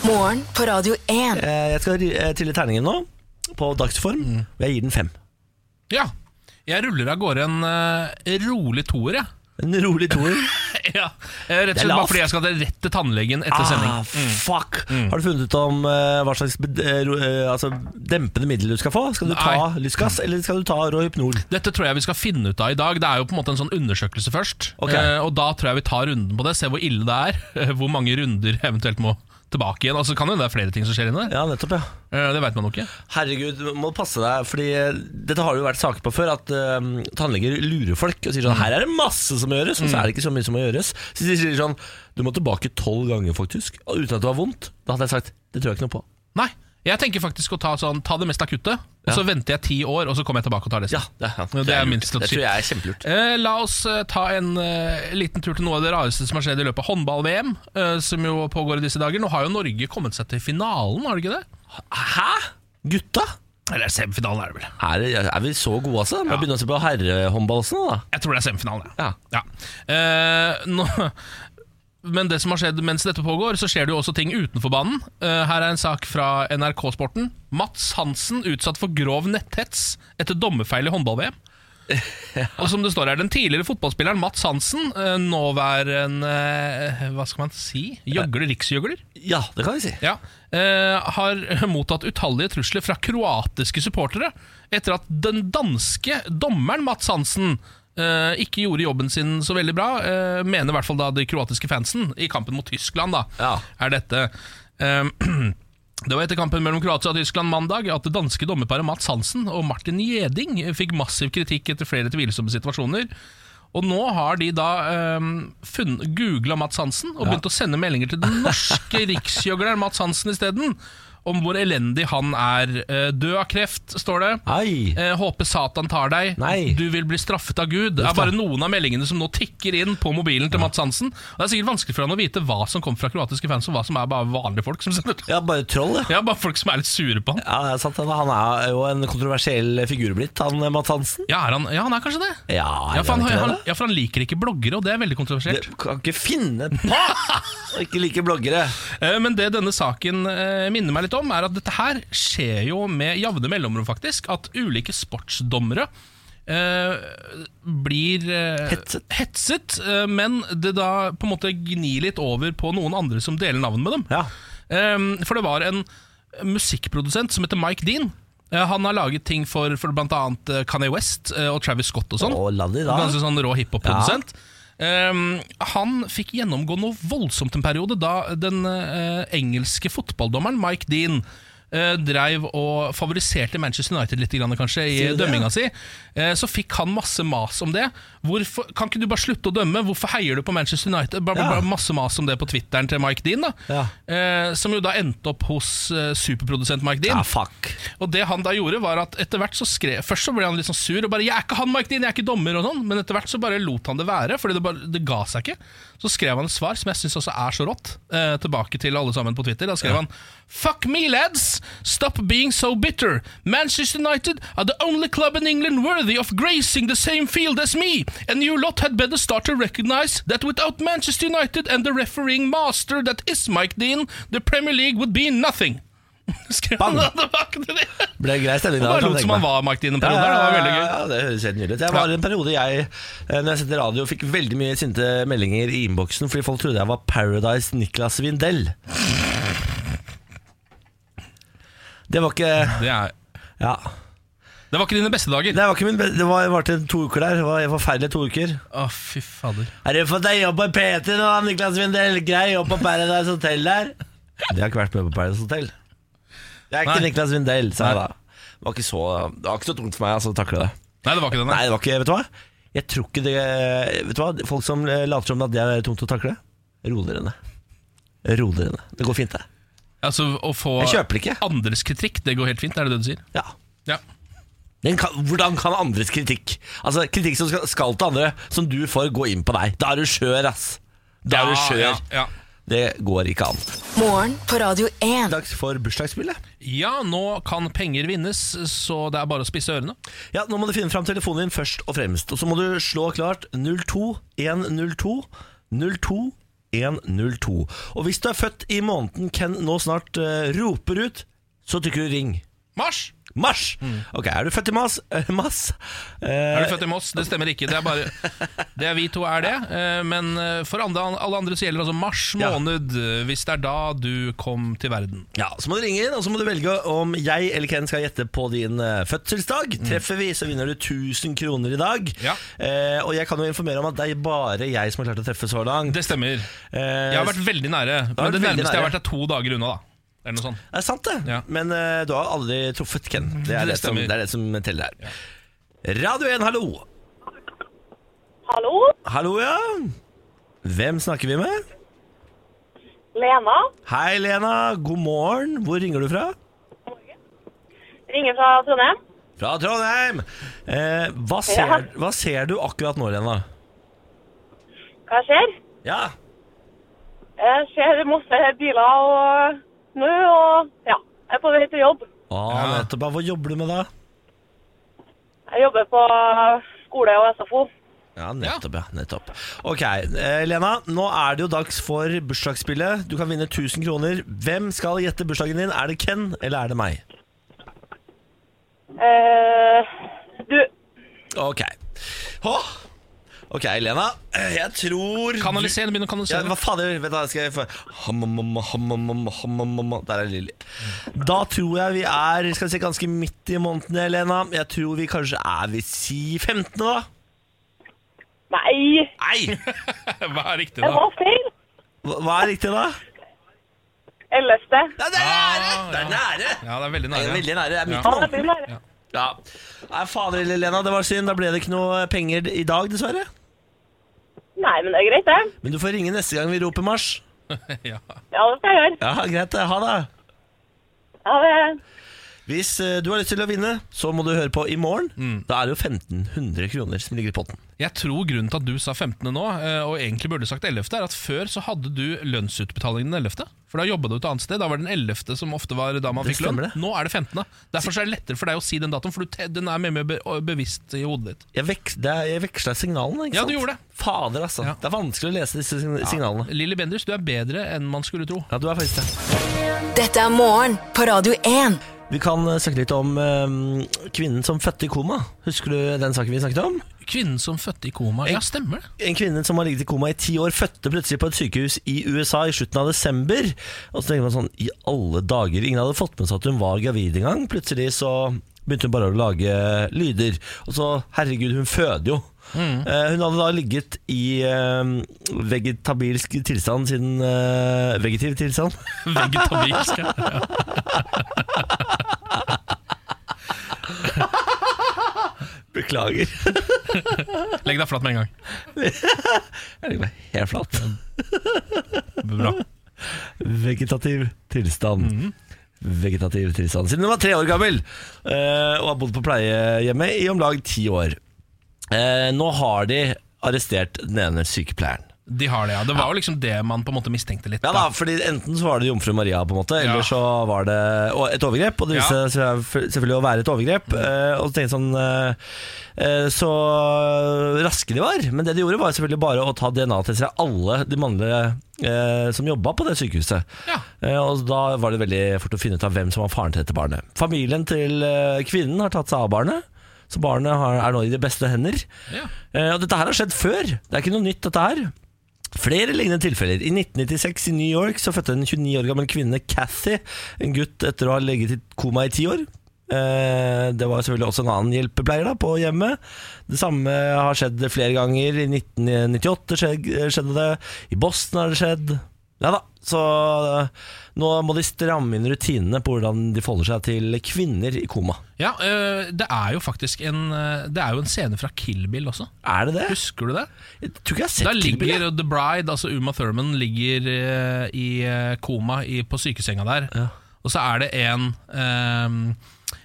Morgen på Radio 1.
Eh, Jeg skal ri- eh, trille terningen nå, på dagsform. Og jeg gir den fem.
Ja. Jeg ruller av gårde en eh, rolig toer, jeg.
En rolig toer.
Ja. Eh, Rett og
Det er
slett bare
lavt.
fordi jeg skal til- rett til tannlegen etter
Ah,
sending.
fuck! Mm. Har du funnet ut om eh, hva slags bed- eh, ro- eh, altså, dempende middel du skal få? Skal du ta lysgass, eller skal du ta Rohypnol?
Dette tror jeg vi skal finne ut av i dag. Det er jo på en måte en sånn undersøkelse først.
Ok.
Eh, og da tror jeg vi tar runden på det, ser hvor ille det er. eh, Hvor mange runder eventuelt må tilbake igjen. Altså kan jo det er flere ting som skjer inni der.
Ja, nettopp, ja.
Eh, Det veit man jo ikke.
Herregud, du må passe deg, fordi eh, dette har det jo vært saker på før, at eh, tannleger lurer folk og sier sånn Her er det masse som må gjøres, og så er det ikke så mye som må gjøres. Så de sier sånn Du må tilbake tolv ganger, faktisk, og uten at det var vondt. Da hadde jeg sagt Det tror jeg ikke noe på.
Nei. Jeg tenker faktisk å ta, sånn, ta det mest akutte, og så venter jeg ti år, og så kommer jeg tilbake og tar det.
Ja, det, ja,
Det er
lurt.
min
Det
strategi.
tror jeg er kjempelurt.
Eh, la oss eh, ta en eh, liten tur til noe av det rareste som har skjedd i løpet av håndball-VM, eh, som jo pågår i disse dager. Nå har jo Norge kommet seg til finalen, har det ikke det?
Hæ? Gutta?
Eller semifinalen er det vel.
Er, det- er vi så gode, altså? Må
Ja.
begynne å se på herrehåndball også nå, da.
Jeg tror det er semifinalen,
Ja.
ja. Eh, nå, men det som har skjedd mens dette pågår, så skjer det jo også ting utenfor banen. Eh, her er en sak fra NRK-sporten. Mats Hansen utsatt for grov netthets etter dommerfeil i håndball-VM. Og som det står her, Den tidligere fotballspilleren Mats Hansen, eh, nåværende eh, Hva skal man si? Gjøgler, riksgjøgler?
Ja, det kan vi si.
ja, eh, har mottatt utallige trusler fra kroatiske supportere etter at den danske dommeren Mats Hansen eh, ikke gjorde jobben sin så veldig bra, eh, mener i hvert fall da de kroatiske fansen i kampen mot Tyskland, da,
Ja.
er dette. Eh, det var etter kampen mellom Kroatia og Tyskland mandag at det danske dommerparet Mats Hansen og Martin Gjeding fikk massiv kritikk etter flere tvilsomme situasjoner. Og nå har de da um, googla Mats Hansen og begynt å sende meldinger til den norske riksgjøgleren Mats Hansen isteden. Om hvor elendig han er. Eh, Død av kreft, står det.
Ai.
Eh, håper Satan tar deg.
Nei.
Du vil bli straffet av Gud. Det er bare noen av meldingene som nå tikker inn på mobilen til Mats Hansen. Og det er sikkert vanskelig for han å vite hva som kom fra kroatiske fans, og hva som er bare vanlige folk som sender det.
Ja, bare troll, ja.
Ja, bare folk som er litt sure på han.
Ja, det er sant. Han er jo en kontroversiell figur blitt, han eh, Mads Hansen.
Ja, er han, ja, han er kanskje det?
Ja, er
Ja, for han,
ikke det,
han,
da?
ja, for han liker ikke bloggere, og det er veldig kontroversielt.
Det kan ikke finne på å ikke like bloggere.
Eh, Men det denne saken eh, minner meg litt om, er at dette her skjer jo med jevne mellomrom, faktisk. At ulike sportsdommere eh, blir eh,
Hetset.
hetset, eh, men det da på en måte gnir litt over på noen andre som deler navn med dem.
Ja.
Eh, for det var en musikkprodusent som heter Mike Dean. Eh, han har laget ting for, for bl.a. Kanye West eh, og Travis Scott og sånn.
Å, la de da.
Ganske sånn rå hiphop-produsent. Ehm, han fikk gjennomgå noe voldsomt en periode da den eh, engelske fotballdommeren Mike Dean eh, dreiv og favoriserte Manchester United litt grann, kanskje, i
Sier du det?
dømminga si. Eh, så fikk han masse mas om det. Hvorfor, kan ikke du bare slutte å dømme? Hvorfor heier du på Manchester United? Bla, bla,
Ja.
bla, masse mas om det på Twitteren til Mike Dean, da.
Ja.
Eh, som jo da endte opp hos eh, superprodusent Mike Dean.
Ja, fuck.
Og det han da gjorde var at etter hvert så skrev Først så ble han litt sånn sur og bare 'Jeg er ikke han, Mike Dean, jeg er ikke dommer' og sånn, men etter hvert så bare lot han det være, fordi det, bare, det ga seg ikke. Så skrev han et svar som jeg syns også er så rått, eh, tilbake til alle sammen på Twitter. Da skrev han 'Fuck me, lads! Stop being so bitter! Manchester United are the only club in England worthy of gracing the same field as me, and you lot had better start to recognize that without Manchester United and the refereeing master that is Mike Dean, the Premier League would be nothing'. Skrev han da tilbake til det.
Ble grei stemning da.
Han
kan
bare
jeg
lot
tenke
som han
meg.
var Mike Dean en
Ja,
periode. der, Det var veldig
ja,
gøy.
ja, det høres helt nydelig ut. Jeg var i en periode jeg, eh, når jeg sendte radio, fikk veldig mye sinte meldinger i innboksen fordi folk trodde jeg var Paradise Niklas Vindell. Det var ikke
Det, er,
Ja.
det var ikke dine beste dager.
Det var ikke min be- Det var, jeg var til to uker der. Det var forferdelige to uker.
Å, fy fader.
Er det for deg jobb på PT nå, Niklas Vindell? Grei jobb på Paradise Hotel der? Jeg har ikke vært med på Paradise Hotel. Jeg er ikke
Nei.
Niklas Vindell, sa jeg da. Det var ikke så, det var ikke så tungt for meg altså, å takle det.
Nei, det var ikke denne.
Nei, det var ikke Vet du hva? Jeg tror ikke det Vet du hva? Folk som eh, later som at det er tungt å takle, ro dere ned. Ro dere ned. Det går fint, det.
Altså, å få
Jeg kjøper det ikke.
andres kritikk, det går helt fint, er det det du sier?
Ja.
Ja.
Den kan, hvordan kan andres kritikk Altså Kritikk som skal, skal til andre, som du får, gå inn på deg. Da er du skjør, ass. Da er du skjør.
Ja, ja.
Det går ikke an.
Morgen på Radio 1.
Dags for bursdagsspillet.
ja, nå kan penger vinnes, så det er bare å spisse ørene.
Ja, Nå må du finne fram telefonen din først og fremst. Og så må du slå klart 02102 02102. Og hvis du er født i måneden Ken nå snart eh, roper ut, så trykker du ring.
Mars!
Mars!
Mm.
Ok, er du født i mas? eh, mas? Eh,
Er du født i Moss? Det stemmer ikke. Det er bare Det er vi to er det. Eh, Men eh, for andre, alle andre så gjelder altså mars
Ja.
måned, eh, hvis det er da du kom til verden.
ja, så må du ringe inn, og så må du velge om jeg eller Ken skal gjette på din eh, fødselsdag. Treffer vi, så vinner du 1000 kroner i dag.
Mm. Ja.
Eh, og jeg kan jo informere om at det er bare jeg som har klart å treffe så langt.
Det stemmer.
Eh,
Jeg har vært veldig nære,
vært
men det
veldig
nærmeste jeg har
nære.
vært, er to dager unna, da. Eller noe sånt.
Det er sant, det.
Ja. Mm,
Men eh, du har aldri truffet Ken. Det er
Det
det, som,
stemmer.
det, er det som teller her. Radio 1, hallo.
Hallo,
Hallo, ja. Hvem snakker vi med?
Lena.
Hei, Lena. God morgen. Hvor ringer du fra?
Ringer fra Trondheim.
Fra Trondheim. Eh, hva,
Ja.
ser, hva ser du akkurat nå, Lena?
Hva skjer?
Ja.
Jeg ser masse biler og snø og ja, jeg er på vei til jobb.
Ah,
Ja.
nettopp. Hva jobber du med da?
Jeg jobber på skole og SFO.
Ja, nettopp, ja. nettopp. Ok, eh, Lena. Nå er det jo dags for bursdagsspillet. Du kan vinne 1000 kroner. Hvem skal gjette bursdagen din? Er det Ken, eller er det meg?
Eh, du,
Ok. Hå? Ok, Lena. Jeg tror
Kanaliser, begynn å
ja,
kanalisere.
Hva fader? Vet du, hva, skal jeg få Hamamama, hamamama, hamamama. Der er Lilly. Da tror jeg vi er skal vi se, ganske midt i måneden, Lena. Jeg tror vi kanskje er ved si 15., da.
nei,
Nei!
Hva er riktig,
det
da?
var feil.
Hva hva er riktig, da?
Ellevte.
Nei, det er nære! Det er nære!
Ja, det er veldig
Det er
nære.
veldig nære. Det er midt i
Ja, det
måneden.
blir nære.
Ja. Nei, fader, Lena. Det var synd. Da ble det ikke noe penger i dag, dessverre.
Nei, men det er greit, det.
Men du får ringe neste gang vi roper marsj.
Ja.
Ja, det skal jeg gjøre.
Ja, greit. det. Ha det.
Ja, det,
Hvis eh, du har lyst til å vinne, så må du høre på i morgen.
Mm.
Da er det jo 1500 kroner som ligger i potten.
Jeg tror grunnen til at du sa 15. nå, eh, og egentlig burde sagt 11., er at før så hadde du lønnsutbetalingen den 11., for da jobba du et annet sted. Da var det den 11. som ofte var da man
Det
fikk lønn.
stemmer det.
Nå er det 15. Derfor så er det lettere for deg å si den datoen, for du te- den er mer og mer be bevisst i hodet ditt.
Jeg, vek, det er, jeg veksla signalene, ikke
Ja,
sant?
du gjorde det.
Fader, altså.
Ja.
Det er vanskelig å lese disse sign- signalene.
Lilly Bendriss, du er bedre enn man skulle tro.
Ja, du er faktisk det.
Dette er morgen på Radio 1.
Vi kan eh, snakke litt om eh, kvinnen som fødte i koma. Husker du den saken vi snakket om?
Kvinnen som fødte i koma. Ja, stemmer det.
En kvinne som har ligget i koma i ti år, fødte plutselig på et sykehus i USA i slutten av desember. Og så tenker man sånn, i alle dager, ingen hadde fått med seg at hun var gravid engang. Plutselig så begynte hun bare å lage lyder. Og så, herregud, hun føder jo. Eh, Hun hadde da ligget i eh, vegetabilsk tilstand siden eh, Vegetiv tilstand?
Vegetabilsk. ja.
Beklager.
Legg deg flatt med en gang.
Jeg ligger meg helt flatt.
Bra.
Vegetativ tilstand. Vegetativ tilstand Siden hun var tre år gammel eh, og har bodd på pleiehjemmet i om lag ti år. Eh, nå har de arrestert den ene sykepleieren.
De har det, ja. Det var jo liksom det man på en måte mistenkte litt.
Ja da, fordi Enten så var det jomfru Maria, på en måte eller
Ja.
så var det å- et overgrep. Og det viste
Ja.
seg selvfølgelig å være et overgrep. eh, Og så tenkte jeg sånn eh, eh, Så sånn, eh, raske de var. Men det de gjorde, var selvfølgelig bare å ta DNA-tester av alle de mannlige eh, som jobba på det sykehuset.
Ja.
Eh, Og da var det veldig fort å finne ut av hvem som var faren til dette barnet. Familien til eh, kvinnen har tatt seg av barnet, så barnet har, er nå i de beste hender.
Ja.
Eh, Og dette her har skjedd før. Det er ikke noe nytt, dette her. Flere lignende tilfeller. I 1996 i New York så fødte en 29 år gammel kvinne, Cathy, en gutt etter å ha ligget i koma i ti år. Eh, Det var selvfølgelig også en annen hjelpepleier da, på hjemmet. Det samme har skjedd flere ganger. I 1998 skjed- eh, skjedde det. I Boston har det skjedd. Ja da, så eh, nå må de stramme inn rutinene på hvordan de forholder seg til kvinner i koma.
Ja, øh, Det er jo faktisk en øh, Det er jo en scene fra Kill Bill også.
Er det det?
Husker du det?
Jeg tror ikke jeg har
Da
sett Kill Bill, jeg.
ligger The Bride, altså Uma Thurman, ligger øh, i øh, koma i, på sykesenga der. Og så er det en øh,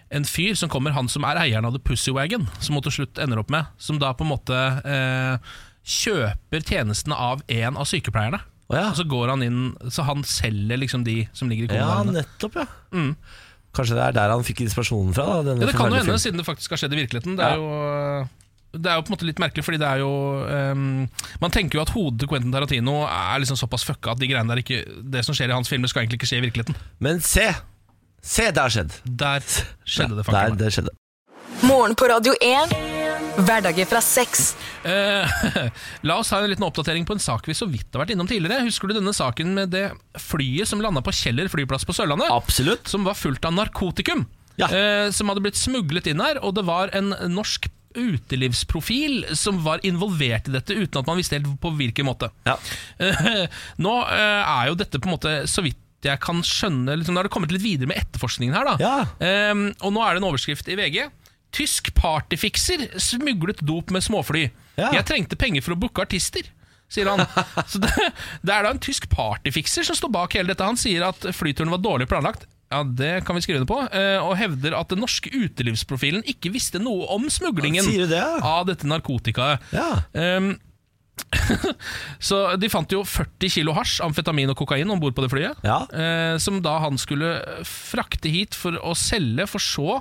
En fyr som kommer, han som er eieren av The Pussywagon, som hun til slutt ender opp med, som da på en måte øh, kjøper tjenestene av en av sykepleierne.
Å ja.
Og så går han inn Så han selger liksom de som ligger i koma.
Ja,
der inne.
nettopp, ja. Kanskje det er der han fikk inspirasjonen fra? Da, denne
Ja, det kan jo
forferdelige
hende,
filmen.
siden det faktisk har skjedd i virkeligheten. Det er jo det er jo på en måte litt merkelig, fordi det er jo ehm, Man tenker jo at hodet til Quentin Tarantino er liksom såpass fucka at de greiene der ikke det som skjer i hans filmer, skal egentlig ikke skje i virkeligheten.
Men se! Se, det har skjedd.
Der skjedde det,
Der,
faktisk.
det skjedde.
Morgen på Radio 1. Hverdager fra seks.
Eh, la oss ha en liten oppdatering på en sak vi så vidt har vært innom tidligere. Husker du denne saken med det flyet som landa på Kjeller flyplass på Sørlandet?
Absolutt.
Som var fullt av narkotikum.
Ja.
Eh, som hadde blitt smuglet inn her, og det var en norsk utelivsprofil som var involvert i dette, uten at man visste helt på hvilken måte.
Ja.
Eh, nå eh, er jo dette på en måte, så vidt jeg kan skjønne liksom, Nå har det kommet litt videre med etterforskningen her, da.
Ja.
Ehm, og nå er det en overskrift i VG. Tysk partyfikser smuglet dop med småfly.
Ja.
Jeg trengte penger for å booke artister. Sier han Så det, det er da en tysk partyfikser som står bak hele dette. Han sier at flyturen var dårlig planlagt. Ja, Det kan vi skrive det på. eh, Og hevder at den norske utelivsprofilen ikke visste noe om smuglingen
Sier du det, ja?
av dette narkotikaet.
Ja.
Ehm, så de fant jo 40 kilo hasj, amfetamin og kokain om bord på det flyet.
Ja.
eh, som da han skulle frakte hit for å selge, for så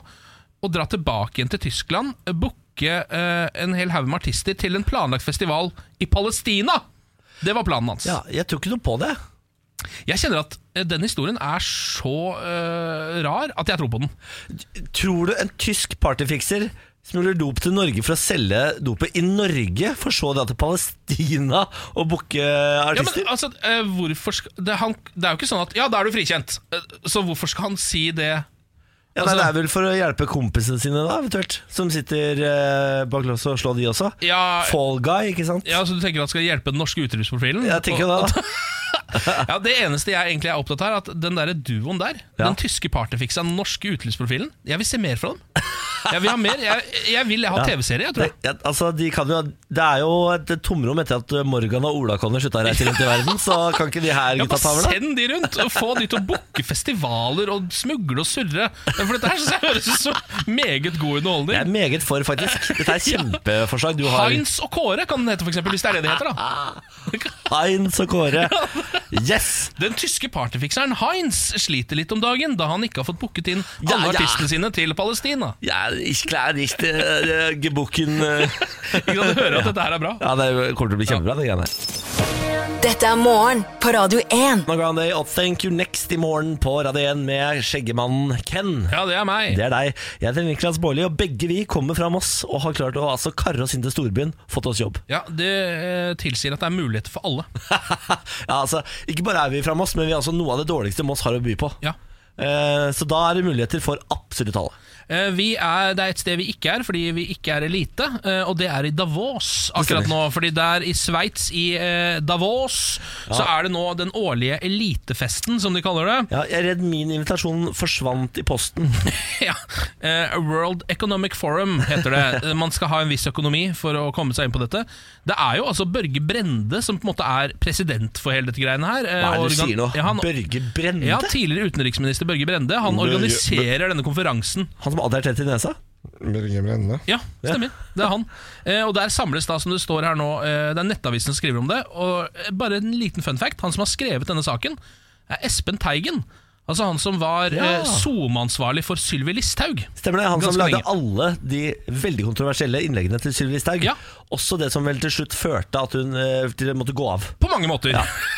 å dra tilbake igjen til Tyskland. Booke eh, en hel haug med artister til en planlagt festival i Palestina! Det var planen hans.
ja. Jeg tror ikke noe på det.
Jeg kjenner at eh, den historien er så eh, rar at jeg tror på den.
Tror du en tysk partyfikser smugler dop til Norge for å selge dopet i Norge, for så å dra til Palestina og booke
Ja,
artister?
men altså, eh, hvorfor skal, det, han, det er jo ikke sånn at Ja, da er du frikjent. Eh, så hvorfor skal han si det?
Ja, nei,
altså-
det er vel for å hjelpe kompisene sine, da, eventuelt. Som sitter eh, bak lås og slår, de også.
Ja,
Fall guy, ikke sant?
Ja, Så du tenker at det skal hjelpe den norske utelivsprofilen?
Jeg tenker jo det, da.
Og- ja, Det eneste jeg egentlig er opptatt av, er at den der duoen der,
Ja.
den tyske partyfiksa, den norske utelivsprofilen, jeg vil se mer fra dem. Jeg vil ha mer, jeg, jeg vil ha TV-serie, jeg tror
Det,
jeg.
ja, altså, de kan jo, det er jo et tomrom etter at Morgan og Ola Conner slutta å reise rundt i verden, så kan ikke de her
Ja,
gutta
bare
ta over, da?
Send de rundt og få de til å booke festivaler og smugle og surre. For dette her synes jeg høres ut som meget god underholdning.
Jeg er meget for, faktisk. Dette er kjempeforslag du har.
Heinz og Kåre kan den hete, for eksempel, hvis det er det det heter. da
Heinz og Kåre. Yes!
Den tyske partyfikseren Heinz sliter litt om dagen, da han ikke har fått booket inn alle
Ja, ja.
artistene sine til Palestina.
Ja, ich klar, ich äh, gebukken eh.
Ikke sant, Du hører at dette her er bra.
Ja, det kommer til å bli kjempebra, det greiene her.
Dette er morgen på Radio 1.
Nå går han det i Thank You Next i morgen på Radio 1 med skjeggemannen Ken.
Ja, det er meg.
Det er deg. Jeg heter Niklas Baarli, og begge vi kommer fra Moss og har klart å altså, karre oss inn til storbyen, fått oss jobb.
Ja, Det eh, tilsier at det er muligheter for alle.
ja, altså, ikke bare er vi fra Moss, men vi er altså noe av det dårligste Moss har å by på.
Ja
Eh, så da er det muligheter for absolutt alle.
Eh, Vi er, det er et sted vi ikke er, fordi vi ikke er elite, eh, og det er i Davos akkurat nå. Fordi der i Sveits, i eh, Davos, så er det nå den årlige elitefesten, som de kaller det.
Ja, jeg er redd min invitasjon forsvant i posten.
Ja. Eh, World Economic Forum heter det. Eh, Man skal ha en viss økonomi for å komme seg inn på dette. Det er jo altså Børge Brende som på en måte er president for hele dette greiene her. eh,
Hva er det du
organ-
sier nå?
Ja, han,
Børge Brende?
ja, tidligere utenriksminister Børge Brende. Han
Børge-
organiserer denne konferansen.
Han som hadde er tett i nesa?
Birger Brende.
Ja, stemmer. Det er han. Eh, og der samles da, som det står her nå, eh, det er Nettavisen som skriver om det. Og eh, bare en liten fun fact. Han som har skrevet denne saken, er Espen Teigen. Altså han som var eh, SoMe-ansvarlig for Sylvi Listhaug.
Stemmer det, Han som
Ganske
lagde
lenge.
alle de veldig kontroversielle innleggene til Sylvi Listhaug.
Ja.
Også det som vel til slutt førte at hun eh, til- måtte gå av.
På mange måter.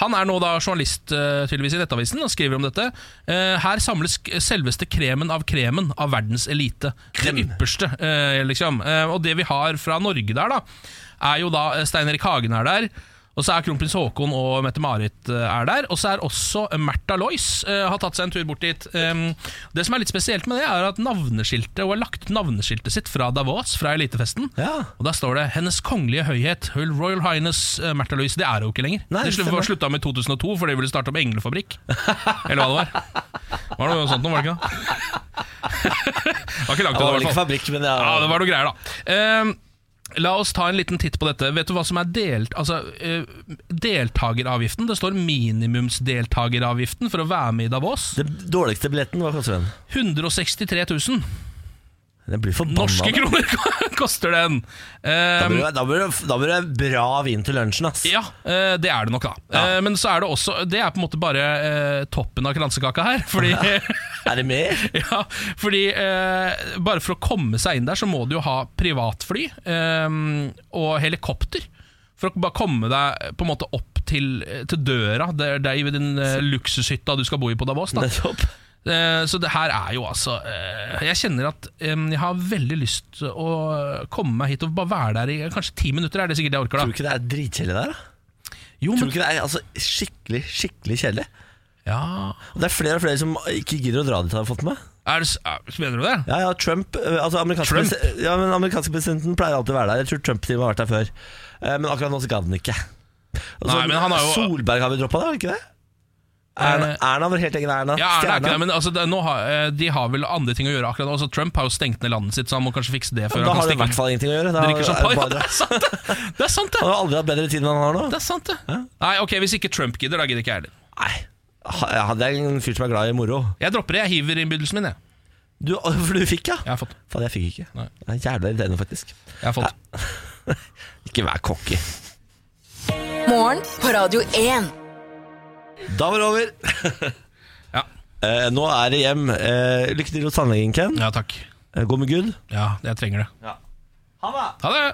Han er nå da journalist eh, tydeligvis i Nettavisen og skriver om dette. Eh, Her samles k- selveste kremen av kremen av verdens elite. Det ypperste, eh, liksom. Eh, Og det vi har fra Norge der, da, er jo da eh, Stein Erik Hagen er der. Og så er kronprins Haakon og Mette-Marit eh, er der. Og så er også Märtha Lois eh, har tatt seg en tur bort dit. Eh, Det som er litt spesielt med det, er at navneskiltet Hun har lagt ut navneskiltet sitt fra Davos, fra elitefesten.
Ja.
Og der står det 'Hennes kongelige høyhet', Her Royal Highness eh, Märtha Louise. Det er hun ikke lenger.
Nei,
det slutt,
stemmer.
var slutta med i 2002, for de ville starte opp englefabrikk. Eller hva det var. Var det noe sånt noe, var det ikke det? Det var ikke langt
Det var
unna, i
vel
hvert
ikke
fall.
fabrikk, men
Ja, det var noe greier, da. Ehm, La oss ta en liten titt på dette. Vet du hva som er delt, altså, eh, deltageravgiften? Det står minimumsdeltageravgiften for å være med i Davos.
Den dårligste billetten, hva koster den?
163 000
Den blir forbanna.
norske
da.
kroner koster den.
Da
Um,
blir det- Da blir det- da blir det bra vin til lunsjen, ass.
Ja, eh, det er det nok, da. Eh, Men så er det også Det er på en måte bare eh, toppen av kransekaka her. Fordi,
Er det mer?
ja, fordi eh, bare for å komme seg inn der, så må du jo ha privatfly eh, og helikopter. For å bare komme deg eh, på en måte opp til, eh, til døra der, der i den eh, luksushytta du skal bo i på Davos. Da.
Nettopp.
Eh, Så det her er jo altså eh, Jeg kjenner at eh, jeg har veldig lyst til å komme meg hit og bare være der i eh, kanskje ti minutter. er det sikkert jeg orker
Tror du
da
ikke det er dritkjedelig der, da?
Jo,
Tror du
men,
ikke det er altså, skikkelig, skikkelig kjedelig?
ja
Og det er flere og flere som ikke gidder å dra dit, har jeg fått med.
Er det, s- er, mener du det?
Ja, ja, Trump eh, altså amerikanske,
Trump?
presi- Ja, men amerikanske presidenten pleier alltid å være der. Jeg tror Trump til og med har vært der før. Eh, Men akkurat nå så gadd han ikke. Og så-
Nei, men han har jo- Eh,
Solberg har vi droppa, da? har vi Ikke det? Erna, Erna, vår helt egen Erna.
Ja, er det er ikke
Stjerna.
det, men altså, det, nå har, eh, De har vel andre ting å gjøre akkurat nå. Altså, Trump har jo stengt ned landet sitt, så han må kanskje fikse det
da
før han
har det i
kan stikke
hvert fall ingenting å gjøre. Da er
drikke
det
champagne. Ja,
bare-
det er sant, det! Det er sant, det!
Han har aldri hatt bedre tid enn han har nå.
Det er sant, det. Nei, ok, Hvis ikke Trump gidder, da gidder ikke jeg heller.
Nei, Ha- ja, det er en fyr som er glad i moro.
Jeg dropper det. Jeg hiver innbydelsen min, jeg.
Du, for du fikk, ja?
Jeg har fått.
Faen, jeg fikk ikke.
Nei.
Det er jævla irriterende, faktisk.
Jeg har fått.
Ikke vær cocky.
Morgen på Radio 1.
Da var det over.
Ja.
Eh, nå er det hjem. Eh, lykke til hos tannlegen, Ken.
ja, takk.
Eh, Gå med Gud.
Ja, jeg trenger det. Ha det!